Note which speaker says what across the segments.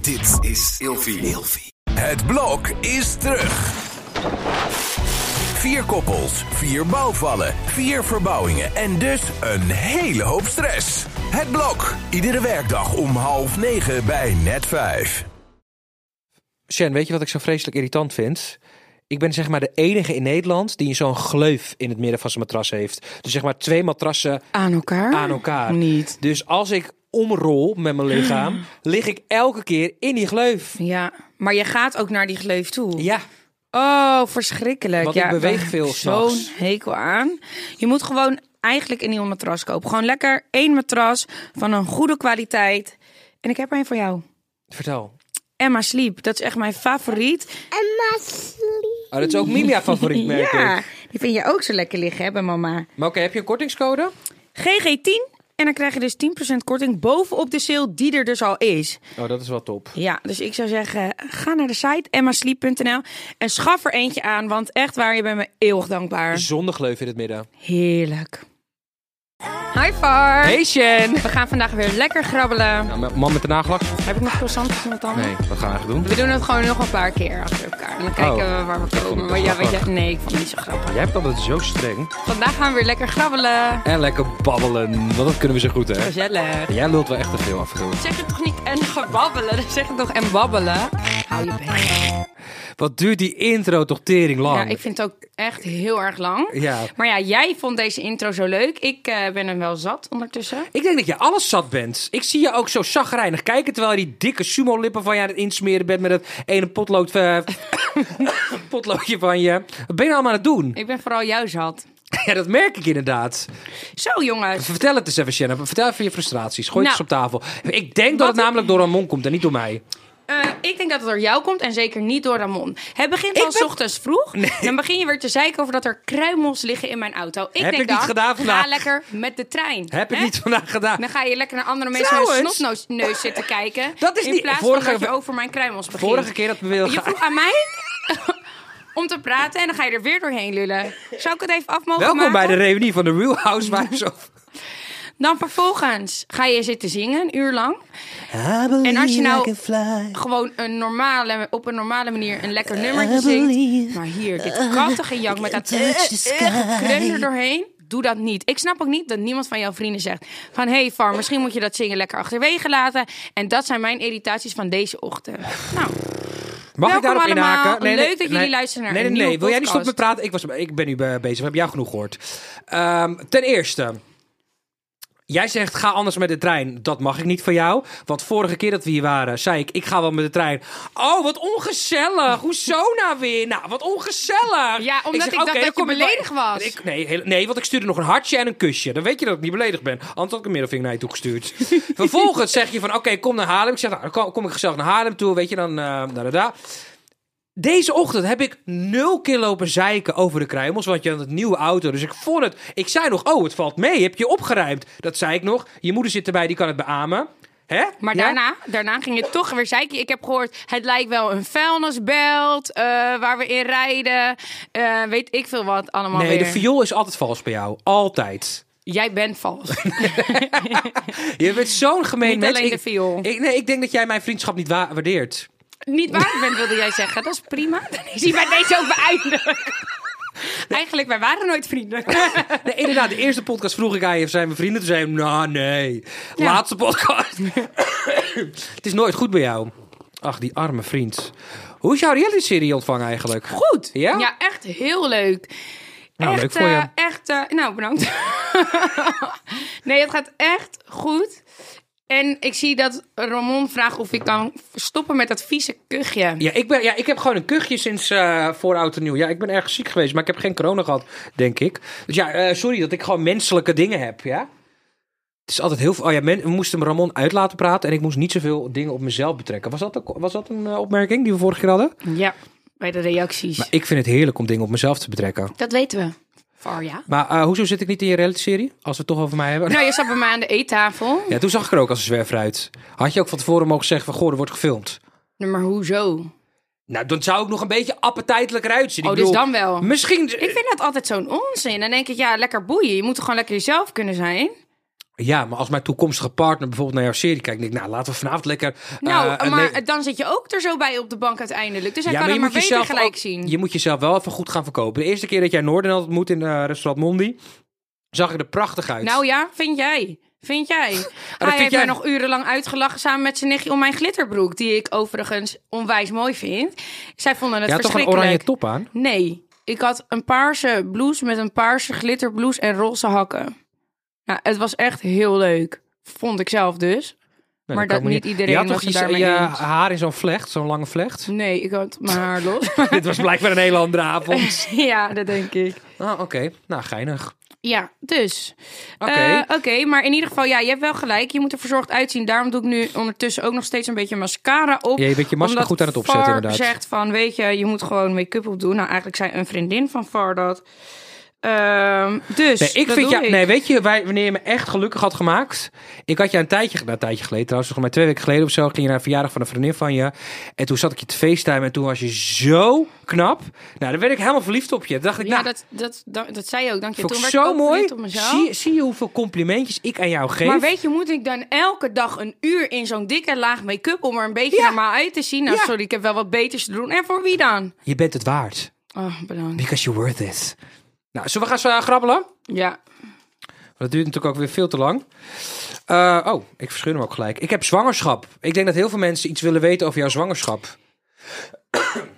Speaker 1: Dit is Ilfie. Het blok is terug. Vier koppels, vier bouwvallen, vier verbouwingen en dus een hele hoop stress. Het blok, iedere werkdag om half negen bij net vijf.
Speaker 2: Shen, weet je wat ik zo vreselijk irritant vind? Ik ben zeg maar de enige in Nederland die zo'n gleuf in het midden van zijn matras heeft. Dus zeg maar twee matrassen
Speaker 3: Aan elkaar?
Speaker 2: aan elkaar.
Speaker 3: Ah, Niet.
Speaker 2: Dus als ik omrol met mijn lichaam, lig ik elke keer in die gleuf.
Speaker 3: Ja, maar je gaat ook naar die gleuf toe.
Speaker 2: Ja,
Speaker 3: Oh, verschrikkelijk.
Speaker 2: Want
Speaker 3: ja,
Speaker 2: ik beweeg
Speaker 3: daar heb
Speaker 2: veel
Speaker 3: ik Zo'n
Speaker 2: s'nachts.
Speaker 3: hekel aan. Je moet gewoon eigenlijk een nieuw matras kopen. Gewoon lekker één matras van een goede kwaliteit. En ik heb er een voor jou.
Speaker 2: vertel.
Speaker 3: Emma Sleep, dat is echt mijn favoriet.
Speaker 4: Emma Sleep.
Speaker 2: Oh, dat is ook Milia favoriet, merk
Speaker 3: ja,
Speaker 2: ik.
Speaker 3: die vind je ook zo lekker liggen, hè, bij mama.
Speaker 2: Maar oké, heb je een kortingscode?
Speaker 3: GG10. En dan krijg je dus 10% korting bovenop de sale die er dus al is.
Speaker 2: Oh, dat is wel top.
Speaker 3: Ja, dus ik zou zeggen, ga naar de site emmasleep.nl en schaf er eentje aan. Want echt waar, je bent me eeuwig dankbaar.
Speaker 2: Zonder gleuf in het midden.
Speaker 3: Heerlijk. Hi Far.
Speaker 2: Hey Shen!
Speaker 3: We gaan vandaag weer lekker grabbelen.
Speaker 2: Nou, man met de nagelak?
Speaker 3: Heb ik nog croissantjes met tanden?
Speaker 2: Nee, wat gaan we eigenlijk doen?
Speaker 3: We doen het gewoon nog een paar keer achter elkaar. En dan kijken
Speaker 2: Oh.
Speaker 3: we waar we
Speaker 2: vond
Speaker 3: komen.
Speaker 2: het
Speaker 3: Maar ja,
Speaker 2: best wel
Speaker 3: weet je, nee, ik vond het niet zo grappig.
Speaker 2: Jij hebt altijd zo streng.
Speaker 3: Vandaag gaan we weer lekker grabbelen.
Speaker 2: En lekker babbelen, want dat kunnen we zo goed, hè?
Speaker 3: Gezellig.
Speaker 2: Jij lult wel echt te veel af en toe.
Speaker 3: Zeg het toch niet en gebabbelen? Zeg het toch en babbelen? Hou je bek.
Speaker 2: Wat duurt die intro toch tering lang?
Speaker 3: Ja, ik vind het ook echt heel erg lang.
Speaker 2: Ja.
Speaker 3: Maar ja, jij vond deze intro zo leuk. Ik eh, ben hem wel zat ondertussen.
Speaker 2: Ik denk dat je alles zat bent. Ik zie je ook zo zagrijnig kijken terwijl je die dikke sumo-lippen van je aan het insmeren bent met dat ene potlood, eh, potloodje van je. Wat ben je nou allemaal aan het doen?
Speaker 3: Ik ben vooral jou zat.
Speaker 2: ja, dat merk ik inderdaad.
Speaker 3: Zo, jongens.
Speaker 2: Vertel het eens even, Shanna. Vertel even je frustraties. Gooi het
Speaker 3: Nou,
Speaker 2: eens op tafel. Ik denk dat het
Speaker 3: wat-
Speaker 2: namelijk door Ramon komt en niet door mij.
Speaker 3: Eh, ik denk dat het door jou komt en zeker niet door Ramon. Het begint al
Speaker 2: ben-
Speaker 3: s ochtends vroeg. Dan begin je weer te zeiken over dat er kruimels liggen in mijn auto. Ik
Speaker 2: Heb
Speaker 3: denk
Speaker 2: ik niet
Speaker 3: dan,
Speaker 2: gedaan vandaag.
Speaker 3: ga lekker met de trein.
Speaker 2: Heb ik
Speaker 3: Hè? Nou,
Speaker 2: niet vandaag gedaan.
Speaker 3: Dan ga je lekker naar andere mensen met een
Speaker 2: Trouwens.
Speaker 3: snotneus zitten kijken.
Speaker 2: Dat is
Speaker 3: in
Speaker 2: niet-
Speaker 3: plaats
Speaker 2: vorige-
Speaker 3: van dat je over mijn kruimels begint.
Speaker 2: Vorige keer dat we wilden
Speaker 3: Je
Speaker 2: gaan...
Speaker 3: vroeg aan mij om te praten en dan ga je er weer doorheen lullen. Zou ik het even af mogen
Speaker 2: Welkom
Speaker 3: maken?
Speaker 2: bij de reunie van de Real Housewives of...
Speaker 3: Dan vervolgens ga je zitten zingen een uur lang. En als je nou gewoon een normale, op een normale manier een lekker nummertje zingt. Maar hier, dit krachtige jank met dat eh, kreun er doorheen. Doe dat niet. Ik snap ook niet dat niemand van jouw vrienden zegt van... hey Far, misschien moet je dat zingen lekker achterwege laten. En dat zijn mijn irritaties van deze ochtend. Nou,
Speaker 2: Mag
Speaker 3: Welkom
Speaker 2: ik daarop
Speaker 3: allemaal.
Speaker 2: inhaken?
Speaker 3: Leuk dat jullie luisteren naar
Speaker 2: nee,
Speaker 3: een
Speaker 2: nee, nee.
Speaker 3: nieuwe
Speaker 2: Wil jij niet
Speaker 3: podcast.
Speaker 2: stoppen met praten? Ik, was, ik ben nu eh, bezig. We hebben jou genoeg gehoord. Ehm, ten eerste... Jij zegt, ga anders met de trein. Dat mag ik niet van jou. Want vorige keer dat we hier waren, zei ik, ik ga wel met de trein. Oh, wat ongezellig. Hoezo nou weer? Nou, wat ongezellig.
Speaker 3: Ja, omdat ik dacht
Speaker 2: oké,
Speaker 3: dat
Speaker 2: dan
Speaker 3: je
Speaker 2: kom wel-
Speaker 3: beledigd was.
Speaker 2: Ik, nee, heel- nee, want ik stuurde nog een hartje en een kusje. Dan weet je dat ik niet beledigd ben. Anders had ik een middelvinger naar je toe gestuurd. Vervolgens zeg je van, oké, kom naar Haarlem. Ik zeg, nou, dan kom- kom ik gezellig naar Haarlem toe. Weet je, dan... eh, da, da, da. Deze ochtend heb ik nul keer lopen zeiken over de kruimels, want je had een nieuwe auto. Dus ik vond het... Ik zei nog, oh, het valt mee, heb je opgeruimd. Dat zei ik nog. Je moeder zit erbij, die kan het beamen. Hè?
Speaker 3: Maar
Speaker 2: Ja?
Speaker 3: daarna, daarna ging het toch weer zeiken. Ik heb gehoord, het lijkt wel een vuilnisbelt eh, waar we in rijden. Eh, weet ik veel wat allemaal
Speaker 2: Nee,
Speaker 3: weer.
Speaker 2: de viool is altijd vals bij jou. Altijd.
Speaker 3: Jij bent vals.
Speaker 2: Je bent zo'n gemeen
Speaker 3: Niet
Speaker 2: mens.
Speaker 3: alleen
Speaker 2: Ik-
Speaker 3: de viool.
Speaker 2: Ik, nee, ik denk dat jij mijn vriendschap niet wa- waardeert.
Speaker 3: Niet waar bent, wilde jij zeggen. Dat is prima. Dan is hij bij deze ook beëindigd. Eigenlijk, wij waren nooit vrienden.
Speaker 2: Nee, inderdaad, de eerste podcast vroeg ik aan je, zijn we vrienden? Toen zei je, nou nee, laatste podcast. het is nooit goed bij jou. Ach, die arme vriend. Hoe is jouw reality-serie ontvangen eigenlijk?
Speaker 3: Goed.
Speaker 2: Ja?
Speaker 3: Ja, echt heel leuk.
Speaker 2: Nou,
Speaker 3: echt,
Speaker 2: leuk voor je.
Speaker 3: eh, echt, eh, nou, bedankt. nee, het gaat echt goed. En ik zie dat Ramon vraagt of ik kan stoppen met dat vieze kuchje.
Speaker 2: Ja, ik, ben, ja, ik heb gewoon een kuchje sinds eh voor oud en nieuw. Ja, ik ben erg ziek geweest, maar ik heb geen corona gehad, denk ik. Dus ja, eh, sorry dat ik gewoon menselijke dingen heb, ja. Het is altijd heel veel... Oh ja, men, we moesten Ramon uit laten praten en ik moest niet zoveel dingen op mezelf betrekken. Was dat, ook- was dat een eh, opmerking die we vorige keer hadden?
Speaker 3: Ja, bij de reacties.
Speaker 2: Maar ik vind het heerlijk om dingen op mezelf te betrekken.
Speaker 3: Dat weten we. Var, ja.
Speaker 2: Maar eh, hoezo zit ik niet in je reality-serie? Als we het toch over mij hebben.
Speaker 3: Nou, je zat bij mij aan de eettafel.
Speaker 2: Ja, toen zag ik er ook als een zwerver uit. Had je ook van tevoren mogen zeggen van, goh, er wordt gefilmd.
Speaker 3: Nee, Maar hoezo?
Speaker 2: Nou, dan zou ik nog een beetje appetijtelijker uitzien.
Speaker 3: Oh,
Speaker 2: Ik
Speaker 3: dus
Speaker 2: bedoel,
Speaker 3: dan wel.
Speaker 2: Misschien...
Speaker 3: Ik vind dat altijd zo'n onzin. Dan denk ik, ja, lekker boeien. Je moet toch gewoon lekker jezelf kunnen zijn?
Speaker 2: Ja, maar als mijn toekomstige partner bijvoorbeeld naar jouw serie kijkt, denk ik, nou laten we vanavond lekker.
Speaker 3: Nou,
Speaker 2: eh, een
Speaker 3: maar
Speaker 2: le-
Speaker 3: dan zit je ook er zo bij op de bank uiteindelijk. Dus hij
Speaker 2: Ja,
Speaker 3: kan hem maar
Speaker 2: je moet
Speaker 3: beter
Speaker 2: jezelf
Speaker 3: gelijk
Speaker 2: ook-
Speaker 3: zien.
Speaker 2: Je moet jezelf wel even goed gaan verkopen. De eerste keer dat jij Noorden had ontmoet in eh, restaurant Mondi, zag ik er prachtig uit.
Speaker 3: Nou ja, vind jij. Vind jij. Hij
Speaker 2: vind
Speaker 3: heeft
Speaker 2: jij-
Speaker 3: mij nog urenlang uitgelachen samen met zijn nichtje om mijn glitterbroek. Die ik overigens onwijs mooi vind. Zij vonden het
Speaker 2: je had toch een oranje
Speaker 3: verschrikkelijk.
Speaker 2: top aan? Nou,
Speaker 3: Nee, ik had een paarse blouse met een paarse glitterblouse en roze hakken. Nou, het was echt heel leuk. Vond ik zelf dus.
Speaker 2: Nee, kan
Speaker 3: maar dat
Speaker 2: ik me
Speaker 3: niet iedereen
Speaker 2: Je had
Speaker 3: was
Speaker 2: toch
Speaker 3: het
Speaker 2: iets-
Speaker 3: daarmee
Speaker 2: je
Speaker 3: eens.
Speaker 2: haar in zo'n vlecht, zo'n lange vlecht?
Speaker 3: Nee, ik had mijn haar los.
Speaker 2: Dit was blijkbaar een hele andere avond.
Speaker 3: ja, dat denk ik.
Speaker 2: Ah, oké. Nou, geinig.
Speaker 3: Ja, dus.
Speaker 2: Oké.
Speaker 3: Oké, maar in ieder geval, ja, je hebt wel gelijk. Je moet er verzorgd uitzien. Daarom doe ik nu ondertussen ook nog steeds een beetje mascara op.
Speaker 2: Ja, je bent je masker
Speaker 3: Omdat
Speaker 2: goed aan het opzetten,
Speaker 3: Far
Speaker 2: inderdaad.
Speaker 3: zegt van, weet je, je moet gewoon make-up op doen. Nou, eigenlijk zei een vriendin van Far dat. Ehm, dus,
Speaker 2: Nee, ik
Speaker 3: dat
Speaker 2: vind
Speaker 3: doe
Speaker 2: ja,
Speaker 3: ik.
Speaker 2: nee, weet je, wij, wanneer je me echt gelukkig had gemaakt. Ik had je een tijdje, nou, een tijdje geleden trouwens, volgens mij twee weken geleden of zo, ging je naar een verjaardag van een vriendin van je. En toen zat ik je te facetimen en toen was je zo knap. Nou, dan werd ik helemaal verliefd op je. Toen dacht ik,
Speaker 3: Ja,
Speaker 2: nou,
Speaker 3: dat, dat, dat, dat zei je ook, dank je.
Speaker 2: vond ik
Speaker 3: Toen werd ik
Speaker 2: zo
Speaker 3: ook
Speaker 2: mooi.
Speaker 3: verliefd op mezelf.
Speaker 2: Zie, zie je hoeveel complimentjes ik aan jou geef?
Speaker 3: Maar weet je, moet ik dan elke dag een uur in zo'n dikke laag make-up om er een beetje
Speaker 2: Ja.
Speaker 3: normaal uit te zien? Nou,
Speaker 2: Ja.
Speaker 3: sorry, ik heb wel wat beters te doen. En voor wie dan?
Speaker 2: Je bent het waard.
Speaker 3: Oh, bedankt.
Speaker 2: Because you're worth it. Nou, zullen we gaan zo- grabbelen?
Speaker 3: Ja.
Speaker 2: Want Dat duurt natuurlijk ook weer veel te lang. Eh, oh, ik verscheur hem ook gelijk. Ik heb zwangerschap. Ik denk dat heel veel mensen iets willen weten over jouw zwangerschap.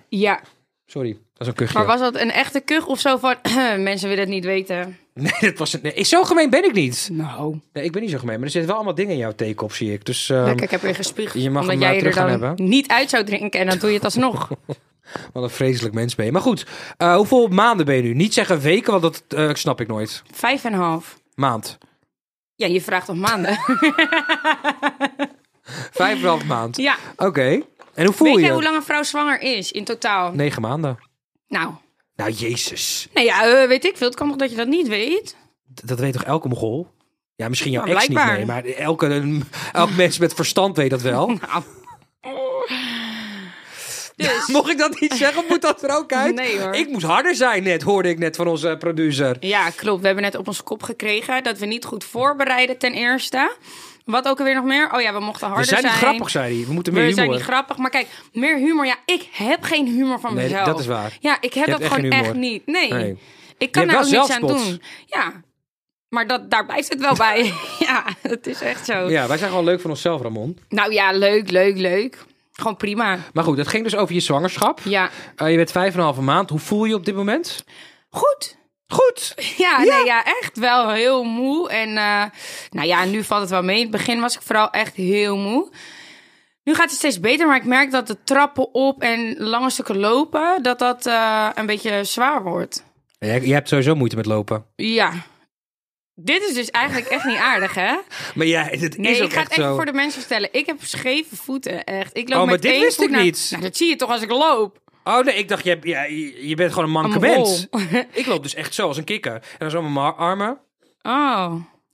Speaker 3: Ja,
Speaker 2: Sorry, dat is een kuchje.
Speaker 3: Maar was dat een echte kuch of zo van... mensen willen het niet weten.
Speaker 2: Nee, dat was het. Nee, ik- zo gemeen ben ik niet.
Speaker 3: Nou.
Speaker 2: Nee, ik ben niet zo gemeen. Maar er zitten wel allemaal dingen in jouw take op, zie ik. Dus ehm,
Speaker 3: Kijk, ik heb weer gespiegeld.
Speaker 2: je mag
Speaker 3: omdat
Speaker 2: hem, eh,
Speaker 3: jij er
Speaker 2: terug gaan
Speaker 3: dan
Speaker 2: hebben.
Speaker 3: niet uit zou drinken en dan doe je het alsnog.
Speaker 2: wat een vreselijk mens ben je. Maar goed, eh, hoeveel maanden ben je nu? Niet zeggen weken, want dat eh, snap ik nooit.
Speaker 3: Vijf en een half.
Speaker 2: Maand.
Speaker 3: Ja, je vraagt om maanden.
Speaker 2: Vijf en een half maand.
Speaker 3: ja.
Speaker 2: Oké. En hoe voel
Speaker 3: Weet
Speaker 2: je?
Speaker 3: jij hoe lang een vrouw zwanger is in totaal?
Speaker 2: Negen maanden.
Speaker 3: Nou,
Speaker 2: Nou, jezus.
Speaker 3: nee, ja, eh, weet ik veel. Het kan toch dat je dat niet weet?
Speaker 2: D- Dat weet toch elke mogol? Ja, misschien jouw
Speaker 3: Maar
Speaker 2: ex niet
Speaker 3: blijkbaar.
Speaker 2: mee, maar elke, elk mens met verstand weet dat wel.
Speaker 3: Nou. Dus,
Speaker 2: Mocht ik dat niet zeggen, moet dat er ook uit?
Speaker 3: Nee, hoor.
Speaker 2: Ik moest harder zijn net, hoorde ik net van onze producer.
Speaker 3: ja, klopt. We hebben net op ons kop gekregen dat we niet goed voorbereiden ten eerste. Wat ook alweer nog meer? Oh ja, we mochten
Speaker 2: We
Speaker 3: harder
Speaker 2: zijn
Speaker 3: zijn.
Speaker 2: niet grappig, zei hij. We moeten meer
Speaker 3: we
Speaker 2: humor.
Speaker 3: zijn niet grappig, maar kijk, meer humor. Ja, ik heb geen humor van
Speaker 2: Nee,
Speaker 3: mezelf.
Speaker 2: dat is waar.
Speaker 3: Ja, ik heb
Speaker 2: Je
Speaker 3: dat
Speaker 2: hebt echt
Speaker 3: gewoon
Speaker 2: geen humor.
Speaker 3: echt niet. Nee.
Speaker 2: Nee.
Speaker 3: Ik kan
Speaker 2: hebt
Speaker 3: daar
Speaker 2: wel
Speaker 3: ook niks aan
Speaker 2: zelfspots.
Speaker 3: doen. Ja, maar dat, daar blijft het wel bij. ja, het is echt zo.
Speaker 2: Ja, wij zijn gewoon leuk van onszelf, Ramon.
Speaker 3: Nou ja, leuk, leuk, leuk. Gewoon prima.
Speaker 2: Maar goed, het ging dus over je zwangerschap.
Speaker 3: Ja,
Speaker 2: Eh, je bent vijf en een halve maand. Hoe voel je op dit moment?
Speaker 3: goed.
Speaker 2: Goed.
Speaker 3: Ja, Nee, ja, echt wel heel moe. En eh, nou ja, nu valt het wel mee. In het begin was ik vooral echt heel moe. Nu gaat het steeds beter, maar ik merk dat de trappen op en lange stukken lopen, dat dat eh, een beetje zwaar wordt.
Speaker 2: Je, je hebt sowieso moeite met lopen.
Speaker 3: Ja. Dit is dus eigenlijk echt niet aardig, hè?
Speaker 2: Maar ja, het
Speaker 3: Nee,
Speaker 2: is ook
Speaker 3: ik ga het
Speaker 2: echt
Speaker 3: even
Speaker 2: zo.
Speaker 3: voor de mensen vertellen. Ik heb scheve voeten, echt. Ik loop
Speaker 2: Oh, maar
Speaker 3: met
Speaker 2: dit
Speaker 3: één
Speaker 2: wist
Speaker 3: voet
Speaker 2: ik
Speaker 3: naar-
Speaker 2: niet.
Speaker 3: Nou, dat zie je toch als ik loop?
Speaker 2: Oh nee, ik dacht, je, hebt- ja, je je bent gewoon een
Speaker 3: Een
Speaker 2: manke mens.
Speaker 3: rol.
Speaker 2: Ik loop dus echt zo, als een kikker. En dan zo met mijn armen.
Speaker 3: Oh.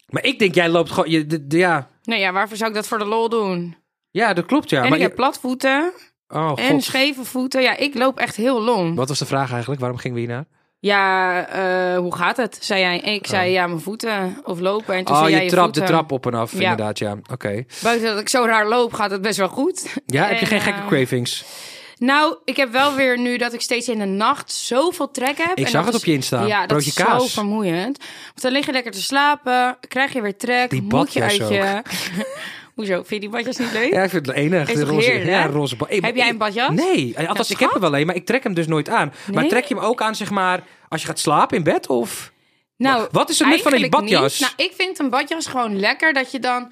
Speaker 2: Maar ik denk, jij loopt gewoon... Je, de- de- ja.
Speaker 3: Nee, ja, waarvoor zou ik dat voor de lol doen?
Speaker 2: ja, dat klopt, ja.
Speaker 3: en
Speaker 2: maar
Speaker 3: ik
Speaker 2: je-
Speaker 3: heb platvoeten
Speaker 2: Oh, god.
Speaker 3: en scheve voeten. Ja, ik loop echt heel long.
Speaker 2: Wat was de vraag eigenlijk? Waarom gingen we hierna?
Speaker 3: Ja, eh, hoe gaat het? Zei jij. En ik zei, ja, mijn voeten. Of lopen. En toen
Speaker 2: Oh,
Speaker 3: zei jij
Speaker 2: je
Speaker 3: je
Speaker 2: trapt de
Speaker 3: voeten.
Speaker 2: trap op en af,
Speaker 3: Ja.
Speaker 2: inderdaad, ja. Oké.
Speaker 3: Buiten dat ik zo raar loop, gaat het best wel goed.
Speaker 2: Ja, heb je
Speaker 3: En,
Speaker 2: geen gekke
Speaker 3: eh,
Speaker 2: cravings?
Speaker 3: Nou, ik heb wel weer nu dat ik steeds in de nacht zoveel trek heb.
Speaker 2: Ik zag
Speaker 3: dat
Speaker 2: het op je Insta.
Speaker 3: Ja, dat
Speaker 2: Broodje
Speaker 3: is
Speaker 2: kaas.
Speaker 3: zo vermoeiend. Want dan lig je lekker te slapen, krijg je weer trek,
Speaker 2: Die
Speaker 3: moet je uit
Speaker 2: badjas
Speaker 3: je... Hoezo, vind je die badjas niet leuk?
Speaker 2: Ja, ik vind het enig.
Speaker 3: Is
Speaker 2: De
Speaker 3: toch
Speaker 2: roze,
Speaker 3: heerlijk, hè?
Speaker 2: ja, roze ba- Hey,
Speaker 3: Heb
Speaker 2: maar
Speaker 3: jij
Speaker 2: ik-
Speaker 3: een badjas?
Speaker 2: Nee, althans, ik heb
Speaker 3: schat.
Speaker 2: hem wel een, maar ik trek hem dus nooit aan. Maar
Speaker 3: Nee?
Speaker 2: trek je hem ook aan, zeg maar, als je gaat slapen in bed? Of...
Speaker 3: Nou,
Speaker 2: Wat is het nut van die
Speaker 3: eigenlijk
Speaker 2: badjas?
Speaker 3: niet. Nou, ik vind een badjas gewoon lekker dat je dan...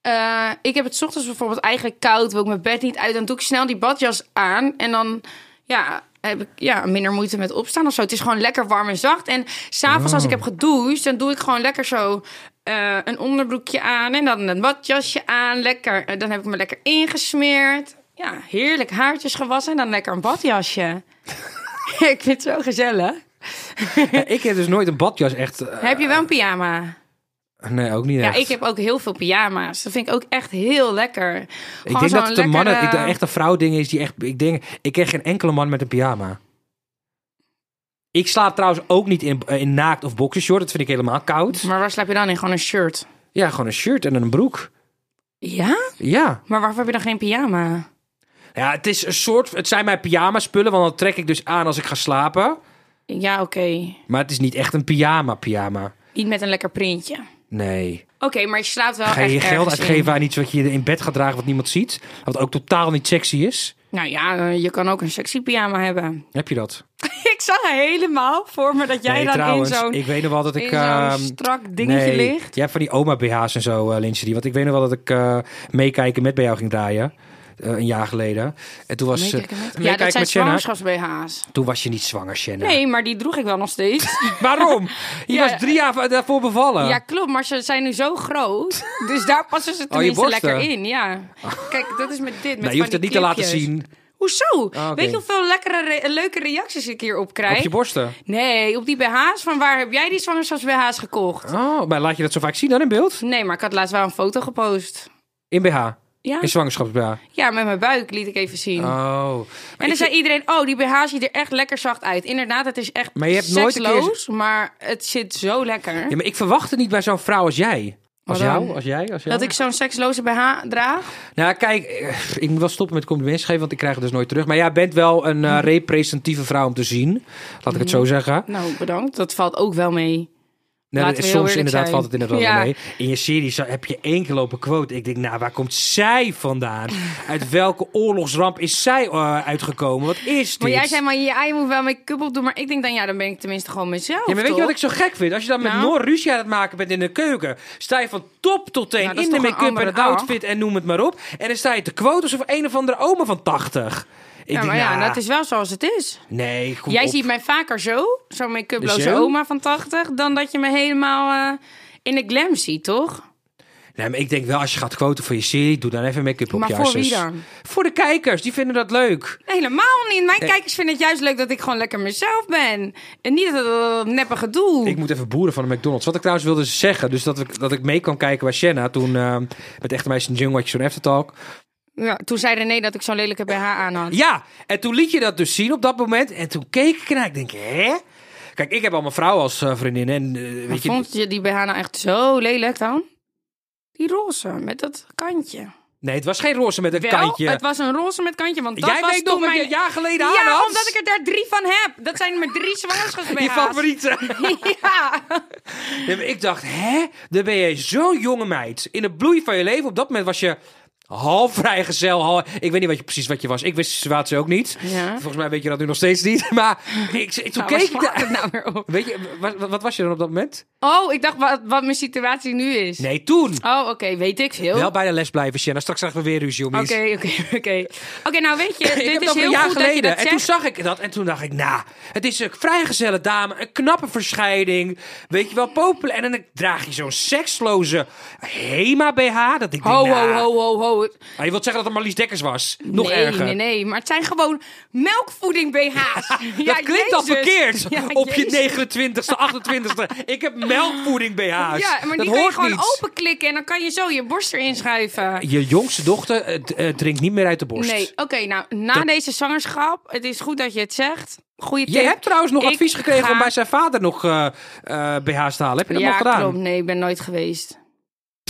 Speaker 3: eh, ik heb het 's ochtends bijvoorbeeld eigenlijk koud, wil ik mijn bed niet uit. Dan doe ik snel die badjas aan en dan ja, heb ik ja, minder moeite met opstaan of zo. Het is gewoon lekker warm en zacht. En s'avonds
Speaker 2: Oh.
Speaker 3: als ik heb gedoucht, dan doe ik gewoon lekker zo eh, een onderbroekje aan. En dan een badjasje aan, lekker. eh, dan heb ik me lekker ingesmeerd. Ja, heerlijk haartjes gewassen en dan lekker een badjasje. ik vind het zo gezellig. Nou,
Speaker 2: Ja, ik heb dus nooit een badjas echt... eh,
Speaker 3: heb je wel een pyjama?
Speaker 2: Nee, ook niet echt.
Speaker 3: Ja, ik heb ook heel veel pyjama's. Dat vind ik ook echt heel lekker.
Speaker 2: Ik denk dat het een man, ik,
Speaker 3: lekkere-
Speaker 2: echt een vrouw ding is die echt... Ik denk, ik ken geen enkele man met een pyjama. Ik eh, slaap trouwens ook niet in, in naakt of boxershort. Dat vind ik helemaal koud.
Speaker 3: Maar waar slaap je dan in? Gewoon een shirt.
Speaker 2: Ja, gewoon een shirt en een broek.
Speaker 3: Ja?
Speaker 2: Ja.
Speaker 3: Maar waarvoor heb je dan geen pyjama?
Speaker 2: Ja, het is een soort... Het zijn mijn pyjama spullen, want dat trek ik dus aan als ik ga slapen.
Speaker 3: Ja, oké.
Speaker 2: Maar het is niet echt een pyjama pyjama.
Speaker 3: Niet met een lekker printje.
Speaker 2: Nee.
Speaker 3: Oké, maar je slaapt wel
Speaker 2: Ga je je
Speaker 3: Oh, echt
Speaker 2: geld
Speaker 3: ergens in.
Speaker 2: uitgeven aan iets wat je in bed gaat dragen wat niemand ziet? Wat ook totaal niet sexy is?
Speaker 3: Nou ja, eh, je kan ook een sexy pyjama hebben.
Speaker 2: Heb je dat?
Speaker 3: ik zag helemaal voor me dat jij
Speaker 2: nee,
Speaker 3: dan
Speaker 2: trouwens.
Speaker 3: in zo'n
Speaker 2: ik weet nog wel dat ik...
Speaker 3: in zo'n
Speaker 2: ehm,
Speaker 3: strak dingetje
Speaker 2: nee,
Speaker 3: ligt.
Speaker 2: Jij hebt van die oma-BH's en zo, eh lingerie. Want ik weet nog wel dat ik eh, meekijken met bij jou ging draaien. eh, een jaar geleden. En toen was... eh,
Speaker 3: Meekijken met- Ja,
Speaker 2: Meekijken
Speaker 3: dat zijn
Speaker 2: met Shanna.
Speaker 3: zwangerschaps-BH's.
Speaker 2: Toen was je niet zwanger, Shanna.
Speaker 3: Nee, maar die droeg ik wel nog steeds.
Speaker 2: Waarom? Je
Speaker 3: Ja.
Speaker 2: was drie jaar va- daarvoor bevallen.
Speaker 3: ja, klopt, maar ze zijn nu zo groot. Dus daar passen ze tenminste
Speaker 2: Oh, borsten.
Speaker 3: lekker in, ja. Kijk, dat is met dit. Met
Speaker 2: nou, je hoeft
Speaker 3: van
Speaker 2: het
Speaker 3: die
Speaker 2: niet te laten
Speaker 3: clipjes.
Speaker 2: zien Ah,
Speaker 3: Hoezo?
Speaker 2: oké.
Speaker 3: Weet je hoeveel lekkere re- leuke reacties ik hierop krijg?
Speaker 2: op je borsten.
Speaker 3: Nee, op die BH's. Van waar heb jij die zwangerschapsbh's gekocht?
Speaker 2: Oh, maar laat je dat zo vaak zien dan in beeld?
Speaker 3: Nee, maar ik had laatst wel een foto gepost.
Speaker 2: In BH.
Speaker 3: Ja,
Speaker 2: In zwangerschaps-BH.
Speaker 3: ja met mijn buik liet ik even zien.
Speaker 2: Oh.
Speaker 3: en dan zei iedereen, oh, die BH ziet er echt lekker zacht uit. Inderdaad, het is echt
Speaker 2: Maar je hebt nooit een keer-
Speaker 3: seksloos, maar het zit zo lekker.
Speaker 2: Ja, maar ik verwacht het niet bij zo'n vrouw als jij. Als
Speaker 3: Waarom?
Speaker 2: jou, als jij, als jou.
Speaker 3: Dat ik zo'n seksloze BH draag.
Speaker 2: Nou, kijk, eh, ik moet wel stoppen met complimenten geven, want ik krijg het dus nooit terug. Maar jij bent wel een
Speaker 3: Hm.
Speaker 2: eh, representatieve vrouw om te zien. Laat ik het zo zeggen.
Speaker 3: Nou, bedankt. Dat valt ook wel mee.
Speaker 2: Nee,
Speaker 3: Laten we heel
Speaker 2: soms
Speaker 3: eerlijk
Speaker 2: inderdaad
Speaker 3: zijn.
Speaker 2: valt het inderdaad wel
Speaker 3: Ja.
Speaker 2: mee. In je serie zo- heb je één keer lopen quote. Ik denk, nou, waar komt zij vandaan? Uit welke oorlogsramp is zij eh, uitgekomen? Wat is dit?
Speaker 3: Maar jij zei, maar ja, je moet wel make-up op doen. Maar ik denk dan, ja, dan ben ik tenminste gewoon mezelf,
Speaker 2: Ja, maar weet je
Speaker 3: toch?
Speaker 2: wat ik zo gek vind? Als je dan met
Speaker 3: Nou?
Speaker 2: Noor ruzie aan het maken bent in de keuken, sta je van top tot teen
Speaker 3: Nou, dat
Speaker 2: in
Speaker 3: is
Speaker 2: de
Speaker 3: toch een
Speaker 2: make-up en
Speaker 3: andere dag?
Speaker 2: outfit en noem het maar op. En dan sta je te quoten alsof een of andere oma van 80. Ik
Speaker 3: Ja,
Speaker 2: denk,
Speaker 3: maar ja,
Speaker 2: nou,
Speaker 3: dat is wel zoals het is.
Speaker 2: Nee, kom
Speaker 3: Jij
Speaker 2: op.
Speaker 3: ziet mij vaker zo, zo'n
Speaker 2: Dus
Speaker 3: make-uploze
Speaker 2: jou?
Speaker 3: oma van 80, dan dat je me helemaal eh, in de glam ziet, toch?
Speaker 2: Nee, maar ik denk wel, als je gaat quoten voor je serie, doe dan even make-up op
Speaker 3: Maar
Speaker 2: je
Speaker 3: voor wie
Speaker 2: zus.
Speaker 3: dan?
Speaker 2: Voor de kijkers, die vinden dat leuk.
Speaker 3: Helemaal niet. Mijn
Speaker 2: Eh.
Speaker 3: kijkers vinden het juist leuk dat ik gewoon lekker mezelf ben. En niet dat dat neppe gedoe.
Speaker 2: Ik moet even boeren van de McDonald's. Wat ik trouwens wilde zeggen, dus dat ik, dat ik mee kan kijken bij Shanna toen eh, met Echte Meisjes en Jungle had je zo'n aftertalk.
Speaker 3: Ja, toen zei René dat ik zo'n lelijke BH aan had.
Speaker 2: Ja, en toen liet je dat dus zien op dat moment. En toen keek ik ernaar. Ik denk, hè? Kijk, ik heb al mijn vrouw als eh, vriendin. En eh,
Speaker 3: Maar
Speaker 2: weet je.
Speaker 3: vond je die BH nou echt zo lelijk dan? Die roze met dat kantje.
Speaker 2: Nee, het was geen roze met een
Speaker 3: Wel,
Speaker 2: kantje.
Speaker 3: het was een roze met kantje, want dat
Speaker 2: Jij
Speaker 3: was
Speaker 2: weet
Speaker 3: toen
Speaker 2: nog wat je
Speaker 3: mijn...
Speaker 2: een jaar geleden aan
Speaker 3: ja,
Speaker 2: had.
Speaker 3: omdat ik er daar drie van heb. Dat zijn mijn drie zwangerschaps-BH's.
Speaker 2: Je favoriete.
Speaker 3: Ja.
Speaker 2: Nee, maar ik dacht, hè? Dan ben je zo'n jonge meid. In de bloei van je leven. Op dat moment was je half vrijgezel. Half... Ik weet niet wat je, precies wat je was. Ik wist de situatie ook niet.
Speaker 3: Ja.
Speaker 2: Volgens mij weet je dat nu nog steeds niet. Maar ik, ik- toen
Speaker 3: Nou, waar
Speaker 2: keek ik...
Speaker 3: slaat
Speaker 2: daar-
Speaker 3: het nou weer op?
Speaker 2: Weet je, wat, wat was je dan op dat moment?
Speaker 3: Oh, ik dacht wat, wat mijn situatie nu is.
Speaker 2: Nee, toen.
Speaker 3: Oh, oké, weet ik veel.
Speaker 2: Wel
Speaker 3: Oké,
Speaker 2: bij de les blijven, Shanna. Straks krijgen we weer ruzie om iets.
Speaker 3: oké, oké. Oké, nou weet je,
Speaker 2: Ik heb
Speaker 3: dit is
Speaker 2: dat
Speaker 3: heel
Speaker 2: een jaar
Speaker 3: goed dat je
Speaker 2: geleden.
Speaker 3: dat
Speaker 2: en toen
Speaker 3: zegt.
Speaker 2: zag ik dat en toen dacht ik, nou, het is een vrijgezelle dame, een knappe verscheiding, weet je wel, populair. En dan draag je zo'n seksloze Hema BH. Dat ik
Speaker 3: Ho,
Speaker 2: denk, nou,
Speaker 3: ho, ho, ho, ho.
Speaker 2: Nou, je wilt zeggen dat het Marlies Dekkers was? Nog
Speaker 3: nee,
Speaker 2: erger.
Speaker 3: nee, nee. Maar het zijn gewoon melkvoeding BH's.
Speaker 2: Dat klinkt al verkeerd op
Speaker 3: je
Speaker 2: je 29ste, 28ste. Ik heb melkvoeding BH's.
Speaker 3: Ja,
Speaker 2: dat
Speaker 3: maar die kan je
Speaker 2: hoort
Speaker 3: gewoon
Speaker 2: niet.
Speaker 3: openklikken en dan kan je zo je borst erin schuiven.
Speaker 2: Je jongste dochter eh, d- eh, drinkt niet meer uit de borst.
Speaker 3: Nee, oké, nou, na deze zwangerschap, het is goed dat je het zegt. Goeie tip.
Speaker 2: Je hebt trouwens nog
Speaker 3: Ik
Speaker 2: advies gekregen
Speaker 3: ga-
Speaker 2: om bij zijn vader nog eh, eh, BH's te halen. Heb je dat
Speaker 3: ja,
Speaker 2: nog gedaan?
Speaker 3: klopt. Nee, ik ben nooit geweest.